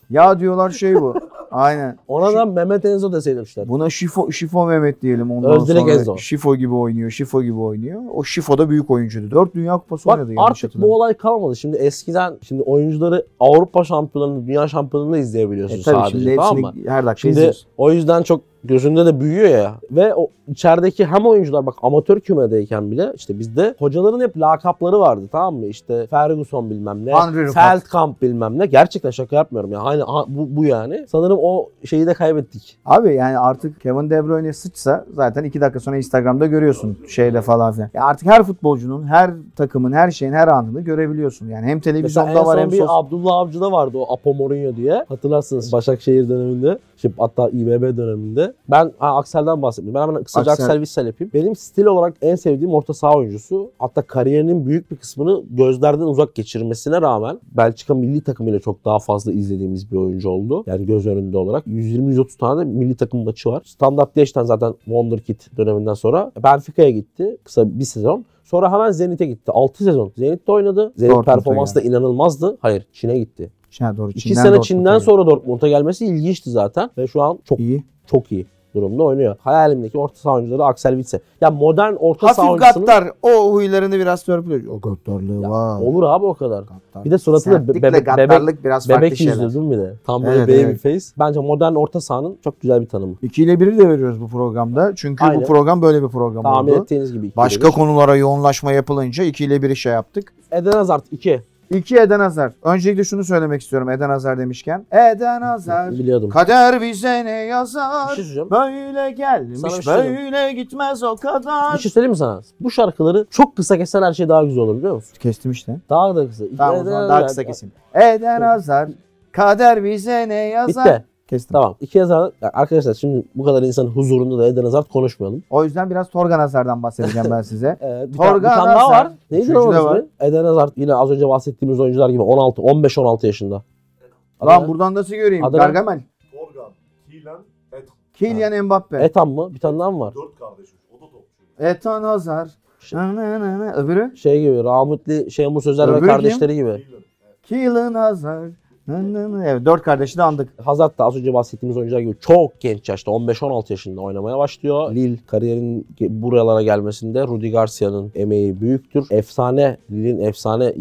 Speaker 1: ya diyorlar şey bu. Aynen.
Speaker 2: Ona da Mehmet Enzo deseymişler.
Speaker 1: Buna şifo, şifo Mehmet diyelim ondan
Speaker 2: Özdilek
Speaker 1: sonra.
Speaker 2: Enzo.
Speaker 1: Şifo gibi oynuyor, şifo gibi oynuyor. O şifo da büyük oyuncuydu. 4 Dünya Kupası
Speaker 2: Bak
Speaker 1: oynadı yanlış
Speaker 2: artık bu
Speaker 1: hatırlamıyorum.
Speaker 2: olay kalmadı. Şimdi eskiden şimdi oyuncuları Avrupa şampiyonlarını, dünya şampiyonlarını izleyebiliyorsun
Speaker 1: E tabii
Speaker 2: sadece.
Speaker 1: şimdi
Speaker 2: tamam
Speaker 1: hepsini
Speaker 2: mı?
Speaker 1: her dakika
Speaker 2: Şimdi
Speaker 1: izliyorsun.
Speaker 2: o yüzden çok gözünde de büyüyor ya. Ve o içerideki hem oyuncular bak amatör kümedeyken bile işte bizde hocaların hep lakapları vardı tamam mı? İşte Ferguson bilmem ne,
Speaker 1: Henry Rufat.
Speaker 2: Feldkamp bilmem ne. Gerçekten şaka yapmıyorum ya. Aynı a- bu, bu yani. Sanırım o şeyi de kaybettik.
Speaker 1: Abi yani artık Kevin De Bruyne sıçsa zaten 2 dakika sonra Instagram'da görüyorsun şeyde falan filan. Ya artık her futbolcunun, her takımın, her şeyin her anını görebiliyorsun. Yani hem
Speaker 2: Mesela en
Speaker 1: televizyonda
Speaker 2: son
Speaker 1: var hem
Speaker 2: bir
Speaker 1: sosyal.
Speaker 2: Abdullah Avcı'da vardı o Apo Mourinho diye. Hatırlarsınız Başakşehir döneminde. Şimdi hatta İBB döneminde. Ben ha, Aksel'den bahsettim. Ben hemen kısaca
Speaker 1: Aksel.
Speaker 2: Aksel. Vissel yapayım. Benim stil olarak en sevdiğim orta saha oyuncusu. Hatta kariyerinin büyük bir kısmını gözlerden uzak geçirmesine rağmen Belçika milli takımıyla çok daha fazla izlediğimiz bir oyuncu oldu. Yani göz önünde olarak. 120-130 tane de milli takım maçı var. Standart Liège'den zaten Wonderkid döneminden sonra Benfica'ya gitti. Kısa bir sezon. Sonra hemen Zenit'e gitti. 6 sezon Zenit'te oynadı. Zenit
Speaker 1: Dortmund'a
Speaker 2: performansı da inanılmazdı. Hayır Çin'e gitti.
Speaker 1: Ha, doğru,
Speaker 2: 2
Speaker 1: Çin'den
Speaker 2: sene
Speaker 1: Dortmund
Speaker 2: Çin'den
Speaker 1: oynuyor.
Speaker 2: sonra Dortmund'a gelmesi ilginçti zaten. Ve şu an çok
Speaker 1: iyi.
Speaker 2: çok iyi durumda oynuyor. Hayalimdeki orta saha oyuncuları Axel Witsel. Ya modern orta saha
Speaker 1: Hafif
Speaker 2: oyuncusunun...
Speaker 1: gattar. O huylarını biraz törpülüyor. O gattarlığı
Speaker 2: Ya,
Speaker 1: var.
Speaker 2: Olur abi o kadar.
Speaker 1: Gattar.
Speaker 2: Bir de suratı da be-
Speaker 1: Sertlikle
Speaker 2: bebek-
Speaker 1: gattarlık biraz farklı
Speaker 2: Bebek
Speaker 1: şeyler.
Speaker 2: yüzlü değil mi bir de? Tam böyle
Speaker 1: Evet,
Speaker 2: baby
Speaker 1: evet.
Speaker 2: face. Bence modern orta sahanın çok güzel bir tanımı.
Speaker 1: 2 ile 1'i de veriyoruz bu programda. Çünkü
Speaker 2: Aynen.
Speaker 1: bu program böyle bir program
Speaker 2: Tahmin
Speaker 1: oldu.
Speaker 2: ettiğiniz gibi. iki
Speaker 1: Başka
Speaker 2: demiş.
Speaker 1: konulara yoğunlaşma yapılınca 2 ile 1'i şey yaptık.
Speaker 2: Eden Hazard 2.
Speaker 1: 2 Eden Hazar. Öncelikle şunu söylemek istiyorum Eden Hazar demişken. Eden Hazar.
Speaker 2: Biliyordum.
Speaker 1: Kader bize ne
Speaker 2: Bir şey
Speaker 1: yazar?
Speaker 2: söyleyeceğim.
Speaker 1: Böyle gelmiş,
Speaker 2: Sana bir şey
Speaker 1: böyle gitmez o
Speaker 2: Bir
Speaker 1: kadar.
Speaker 2: şey söyleyeyim mi sana? Bu şarkıları çok kısa kessen her şey daha güzel olur biliyor musun?
Speaker 1: Kestim işte.
Speaker 2: Daha da kısa.
Speaker 1: Tamam o
Speaker 2: Eden
Speaker 1: zaman daha
Speaker 2: Hazard-
Speaker 1: kısa keseyim. Eden Hazar, kader bize ne yazar?
Speaker 2: Bitti.
Speaker 1: Kestim.
Speaker 2: Tamam. İki Hazard. Ya Arkadaşlar şimdi bu kadar insanın huzurunda da Eden Hazard konuşmayalım.
Speaker 1: O yüzden biraz Torgan Hazar'dan bahsedeceğim ben size.
Speaker 2: Ee, bir,
Speaker 1: Torgan
Speaker 2: tane, bir tane daha
Speaker 1: Hazard.
Speaker 2: var. Neydi
Speaker 1: Üçüncü
Speaker 2: onun
Speaker 1: de
Speaker 2: ismi?
Speaker 1: var.
Speaker 2: Eden Hazard yine az önce bahsettiğimiz oyuncular gibi 16, 15-16 yaşında.
Speaker 1: Lan buradan nasıl göreyim?
Speaker 2: Adana-
Speaker 1: Gargamel.
Speaker 3: Korgan, Kilen, Et.
Speaker 1: Kylian Mbappe.
Speaker 2: Etan mı? Bir tane daha mı var?
Speaker 3: Dört kardeşim. O da topçu.
Speaker 1: Etan Hazar.
Speaker 2: Şey-
Speaker 1: Na na na na. Öbürü?
Speaker 2: Şey gibi rahmetli Şeymus Özer ve
Speaker 1: Öbürü kim?
Speaker 2: kardeşleri gibi.
Speaker 3: Kilen.
Speaker 1: Kylian Hazar. Na na na. Evet dört kardeşi de andık.
Speaker 2: Hazard da az önce bahsettiğimiz oyuncular gibi çok genç yaşta 15-16 yaşında oynamaya başlıyor. Lille kariyerinin ge- buralara gelmesinde Rudi Garcia'nın emeği büyüktür. Efsane, Lille'in efsane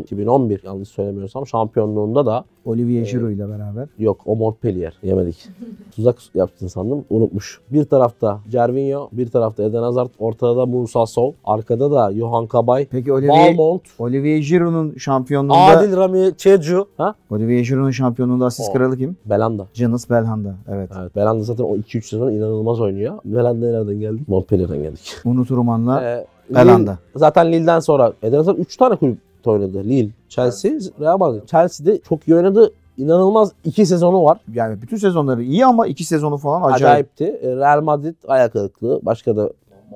Speaker 2: 2010-2011 yanlış söylemiyorsam şampiyonluğunda da
Speaker 1: Olivier Giroud ile beraber.
Speaker 2: Yok o Montpellier yemedik. Tuzak yaptın sandım unutmuş. Bir tarafta Cervinho, bir tarafta Eden Hazard, ortada da Musa Sol, arkada da Johan Kabay,
Speaker 1: Peki Olivier,
Speaker 2: Balmont,
Speaker 1: Olivier Giroud'un şampiyonluğunda
Speaker 2: Adil Rami, Çecu, ha?
Speaker 1: Olivier Giroud'un şampiyonluğunda asist
Speaker 2: O.
Speaker 1: kralı kim?
Speaker 2: Belanda.
Speaker 1: Canus Belhanda. Evet.
Speaker 2: Evet, Belanda zaten o 2-3 sezon inanılmaz oynuyor. Belanda nereden geldik? Montpellier'den geldik.
Speaker 1: Unuturum anla.
Speaker 2: Ee,
Speaker 1: Belanda.
Speaker 2: Lille- zaten Lille'den sonra Eden Hazard 3 tane kulüpte oynadı. Lille, Chelsea, Real Madrid. Chelsea'de çok iyi oynadı. İnanılmaz 2 sezonu var.
Speaker 1: Yani bütün sezonları iyi ama iki sezonu falan acayip.
Speaker 2: Acayipti. E, Real Madrid ayak kırıklığı. Başka da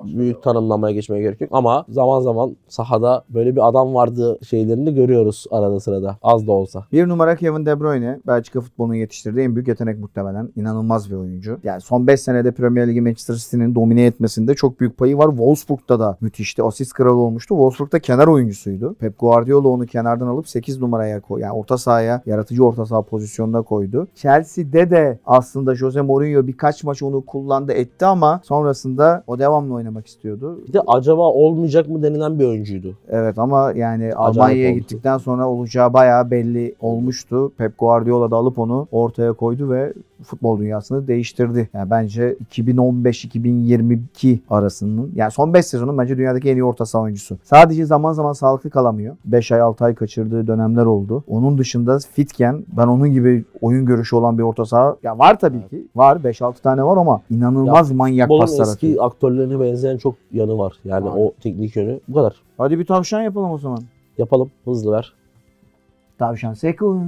Speaker 2: büyük tanımlamaya geçmeye gerek yok. Ama zaman zaman sahada böyle bir adam vardı şeylerini görüyoruz arada sırada. Az da olsa.
Speaker 1: Bir numara Kevin De Bruyne. Belçika futbolunun yetiştirdiği en büyük yetenek muhtemelen. İnanılmaz bir oyuncu. Yani son 5 senede Premier Ligi Manchester City'nin domine etmesinde çok büyük payı var. Wolfsburg'da da müthişti. Asist kralı olmuştu. Wolfsburg'da kenar oyuncusuydu. Pep Guardiola onu kenardan alıp 8 numaraya koy. Yani orta sahaya, yaratıcı orta saha pozisyonuna koydu. Chelsea'de de aslında Jose Mourinho birkaç maç onu kullandı etti ama sonrasında o devamlı oynamak istiyordu.
Speaker 2: Bir de acaba olmayacak mı denilen bir oyuncuydu.
Speaker 1: Evet ama yani Almanya'ya
Speaker 2: oldu.
Speaker 1: gittikten sonra olacağı bayağı belli olmuştu. Pep Guardiola da alıp onu ortaya koydu ve futbol dünyasını değiştirdi. Yani bence 2015-2022 arasının yani son 5 sezonun bence dünyadaki en iyi orta saha oyuncusu. Sadece zaman zaman sağlıklı kalamıyor. 5 ay 6 ay kaçırdığı dönemler oldu. Onun dışında fitken ben onun gibi oyun görüşü olan bir orta saha ya var tabii ki. Var 5-6 tane var ama inanılmaz manyak
Speaker 2: Bol'un
Speaker 1: paslar atıyor.
Speaker 2: eski aktörlerine benzeyen çok yanı var. Yani
Speaker 1: Aynen.
Speaker 2: o teknik yönü. Bu kadar.
Speaker 1: Hadi bir tavşan yapalım o zaman.
Speaker 2: Yapalım. Hızlı ver.
Speaker 1: Tavşan Sekun.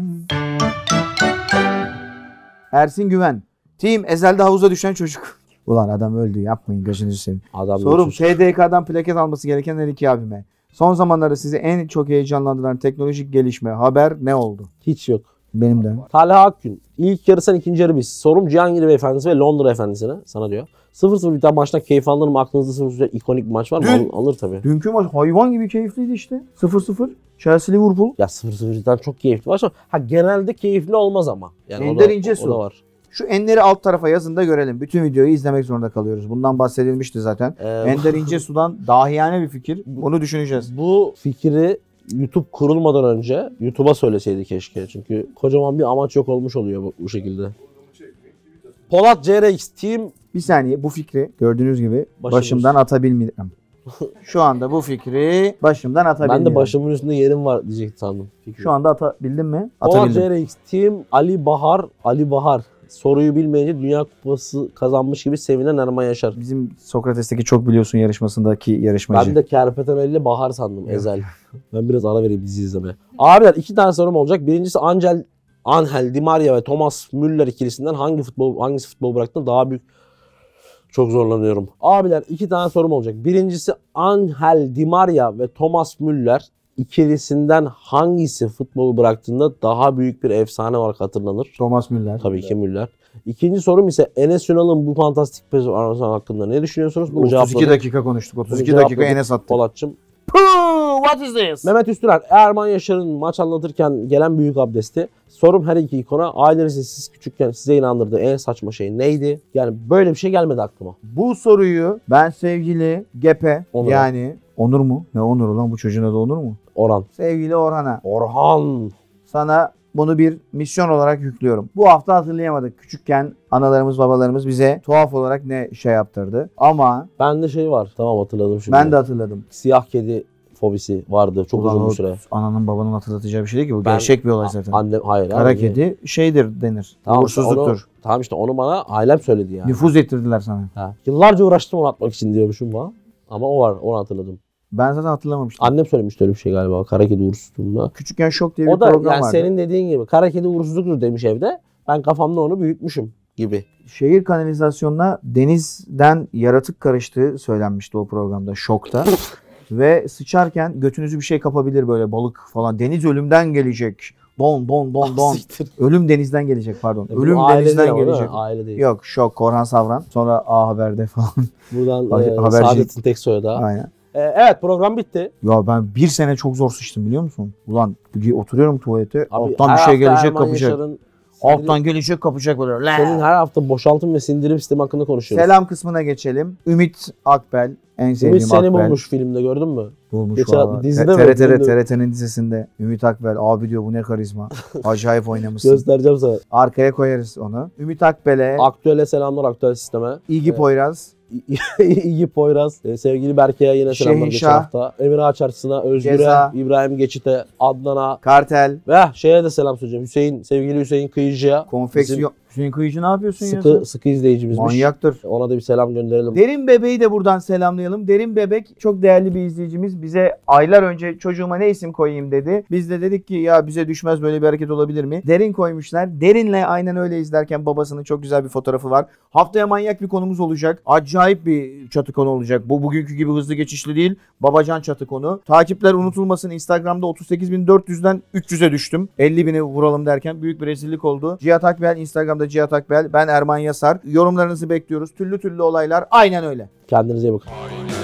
Speaker 1: Ersin Güven. Team ezelde havuza düşen çocuk. Ulan adam öldü yapmayın gözünüzü seveyim.
Speaker 2: Adam
Speaker 1: Sorum
Speaker 2: diyorsun.
Speaker 1: TDK'dan plaket alması gereken her iki abime. Son zamanlarda sizi en çok heyecanlandıran teknolojik gelişme, haber ne oldu?
Speaker 2: Hiç yok.
Speaker 1: Benim de.
Speaker 2: Talha Akgün. İlk yarı sen ikinci yarı biz. Sorum Cihangir Beyefendisi ve Londra Efendisi'ne sana diyor. 0-0 biten maçtan keyif alınır mı? Aklınızda 0-0 ikonik bir maç var mı?
Speaker 1: Dün-
Speaker 2: Al- Alır tabii.
Speaker 1: Dünkü maç hayvan gibi keyifliydi işte. 0-0. Chelsea Liverpool.
Speaker 2: Ya 0-0 cidden çok keyifli maç ama ha genelde keyifli olmaz ama. Yani o
Speaker 1: Ender
Speaker 2: da,
Speaker 1: İncesu.
Speaker 2: o da var.
Speaker 1: Şu enleri alt tarafa yazın da görelim. Bütün videoyu izlemek zorunda kalıyoruz. Bundan bahsedilmişti zaten.
Speaker 2: Ee,
Speaker 1: Ender İnce Sudan dahiyane bir fikir. Bunu düşüneceğiz.
Speaker 2: Bu fikri YouTube kurulmadan önce YouTube'a söyleseydi keşke. Çünkü kocaman bir amaç yok olmuş oluyor bu, bu şekilde. Polat CRX Team
Speaker 1: Bir saniye bu fikri gördüğünüz gibi
Speaker 2: Başımız.
Speaker 1: başımdan atabilmiyorum. Şu anda bu fikri başımdan atabilmiyorum.
Speaker 2: ben de başımın üstünde yerim var diyecek sandım. Fikri.
Speaker 1: Şu anda atabildim mi?
Speaker 2: Polat
Speaker 1: Atabildim.
Speaker 2: CRX Team Ali Bahar Ali Bahar soruyu bilmeyince Dünya Kupası kazanmış gibi sevinen Erman Yaşar.
Speaker 1: Bizim Sokrates'teki çok biliyorsun yarışmasındaki yarışmacı.
Speaker 2: Ben de Kerpeten Ali ile Bahar sandım Ezel. ben biraz ara vereyim dizi izlemeye. Abiler iki tane sorum olacak. Birincisi Angel, Angel Di Maria ve Thomas Müller ikilisinden hangi futbol hangisi futbol bıraktığında daha büyük çok zorlanıyorum. Abiler iki tane sorum olacak. Birincisi Angel Di Maria ve Thomas Müller ikilisinden hangisi futbolu bıraktığında daha büyük bir efsane olarak hatırlanır?
Speaker 1: Thomas Müller.
Speaker 2: Tabii ki Müller. İkinci sorum ise Enes Ünal'ın bu fantastik performansı hakkında ne düşünüyorsunuz? Bunu
Speaker 1: 32
Speaker 2: cevapladık.
Speaker 1: dakika konuştuk. 32 dakika
Speaker 2: cevapladık.
Speaker 1: Enes attı.
Speaker 2: Polatçım.
Speaker 1: Puh, what is this?
Speaker 2: Mehmet Üstüler, Erman Yaşar'ın maç anlatırken gelen büyük abdesti. Sorum her iki ikona ailenizin siz küçükken size inandırdığı en saçma şey neydi? Yani böyle bir şey gelmedi aklıma.
Speaker 1: Bu soruyu ben sevgili Gepe
Speaker 2: Onur'a.
Speaker 1: yani Onur mu? Ne Onur lan bu çocuğun adı Onur mu?
Speaker 2: Orhan.
Speaker 1: Sevgili Orhan'a
Speaker 2: Orhan.
Speaker 1: sana bunu bir misyon olarak yüklüyorum. Bu hafta hatırlayamadık. Küçükken analarımız babalarımız bize tuhaf olarak ne şey yaptırdı. Ama
Speaker 2: Bende şey var. Tamam hatırladım şimdi.
Speaker 1: ben de hatırladım.
Speaker 2: Siyah kedi fobisi vardı çok
Speaker 1: Ulan
Speaker 2: uzun
Speaker 1: o
Speaker 2: bir süre.
Speaker 1: Ananın babanın hatırlatacağı bir şey değil ki bu.
Speaker 2: Ben-
Speaker 1: Gerçek bir olay zaten.
Speaker 2: Annem hayır.
Speaker 1: Kara
Speaker 2: abi.
Speaker 1: kedi şeydir denir.
Speaker 2: Tamam, işte
Speaker 1: Uğursuzluktur.
Speaker 2: onu- tamam işte onu bana ailem söyledi yani.
Speaker 1: Nüfuz ettirdiler sana.
Speaker 2: Ha. Yıllarca uğraştım onu atmak için diyormuşum bana. Ama o var onu hatırladım.
Speaker 1: Ben zaten hatırlamamıştım.
Speaker 2: Annem söylemişti öyle bir şey galiba. Kara kedi uğursuzluğunda.
Speaker 1: Küçükken şok diye bir
Speaker 2: O da
Speaker 1: program
Speaker 2: yani
Speaker 1: vardı.
Speaker 2: senin dediğin gibi kara kedi uğursuzluktur demiş evde. Ben kafamda onu büyütmüşüm gibi.
Speaker 1: şehir kanalizasyonuna denizden yaratık karıştığı söylenmişti o programda şokta. Ve sıçarken götünüzü bir şey kapabilir böyle balık falan. Deniz ölümden gelecek. Don don don don.
Speaker 2: Ah, Siktir.
Speaker 1: Ölüm denizden gelecek pardon.
Speaker 2: E, Bu
Speaker 1: Ölüm
Speaker 2: aile
Speaker 1: denizden
Speaker 2: değil ama, değil mi?
Speaker 1: gelecek.
Speaker 2: Aile değil.
Speaker 1: Yok şok Korhan Savran. Sonra A Haber'de falan.
Speaker 2: Buradan
Speaker 1: Haber-
Speaker 2: e,
Speaker 1: habercilik.
Speaker 2: Saadettin Teksoy'a da.
Speaker 1: Aynen.
Speaker 2: E, evet program bitti.
Speaker 1: Ya ben bir sene çok zor sıçtım biliyor musun? Ulan bir oturuyorum tuvalete. alttan
Speaker 2: her
Speaker 1: bir şey
Speaker 2: hafta
Speaker 1: gelecek
Speaker 2: Erman
Speaker 1: kapacak.
Speaker 2: Yaşar'ın sindirim-
Speaker 1: Alttan gelecek kapacak böyle. "Laa!"
Speaker 2: Senin her hafta boşaltım ve sindirim sistemi hakkında konuşuyoruz.
Speaker 1: Selam kısmına geçelim. Ümit Akbel. En sevdiğim
Speaker 2: Ümit seni
Speaker 1: Akbel.
Speaker 2: bulmuş filmde gördün mü?
Speaker 1: Bulmuş
Speaker 2: Geçen
Speaker 1: valla.
Speaker 2: hafta dizide
Speaker 1: T-
Speaker 2: mi?
Speaker 1: TRT,
Speaker 2: Dizide mi?
Speaker 1: TRT'nin dizisinde Ümit Akbel abi diyor bu ne karizma. Acayip oynamışsın.
Speaker 2: Göstereceğim sana.
Speaker 1: Arkaya koyarız onu. Ümit Akbel'e,
Speaker 2: Aktüele selamlar aktüel sisteme.
Speaker 1: İlgi Poyraz,
Speaker 2: İyi Poyraz. e, sevgili Berke'ye yine selamlar
Speaker 1: Şehin
Speaker 2: geçen
Speaker 1: Şah.
Speaker 2: hafta. Emine Açarsın'a, Özgür'e,
Speaker 1: Ceza.
Speaker 2: İbrahim Geçit'e, Adnan'a.
Speaker 1: Kartel,
Speaker 2: Ve şeye de selam söyleyeceğim. Hüseyin, sevgili Hüseyin Kıyıcı'ya.
Speaker 1: Konfeksiyon. Hüseyin Kıyıcı ne yapıyorsun
Speaker 2: Bizim
Speaker 1: ya?
Speaker 2: Sıkı, sıkı izleyicimizmiş.
Speaker 1: Manyaktır.
Speaker 2: Ona da bir selam gönderelim.
Speaker 1: Derin Bebe'yi de buradan selamlayalım. Derin Bebek çok değerli bir izleyicimiz. Bize aylar önce çocuğuma ne isim koyayım dedi. Biz de dedik ki ya bize düşmez böyle bir hareket olabilir mi? Derin koymuşlar. Derin'le aynen öyle izlerken babasının çok güzel bir fotoğrafı var. Haftaya manyak bir konumuz olacak. Acayip bir çatı konu olacak. Bu bugünkü gibi hızlı geçişli değil. Babacan çatı konu. Takipler unutulmasın. Instagram'da 38.400'den 300'e düştüm. 50.000'i vuralım derken büyük bir rezillik oldu. Cihat Akbel, Instagram'da Cihat Akbel. Ben Erman Yasar. Yorumlarınızı bekliyoruz. Türlü türlü olaylar aynen öyle.
Speaker 2: Kendinize iyi bakın.
Speaker 4: Aynen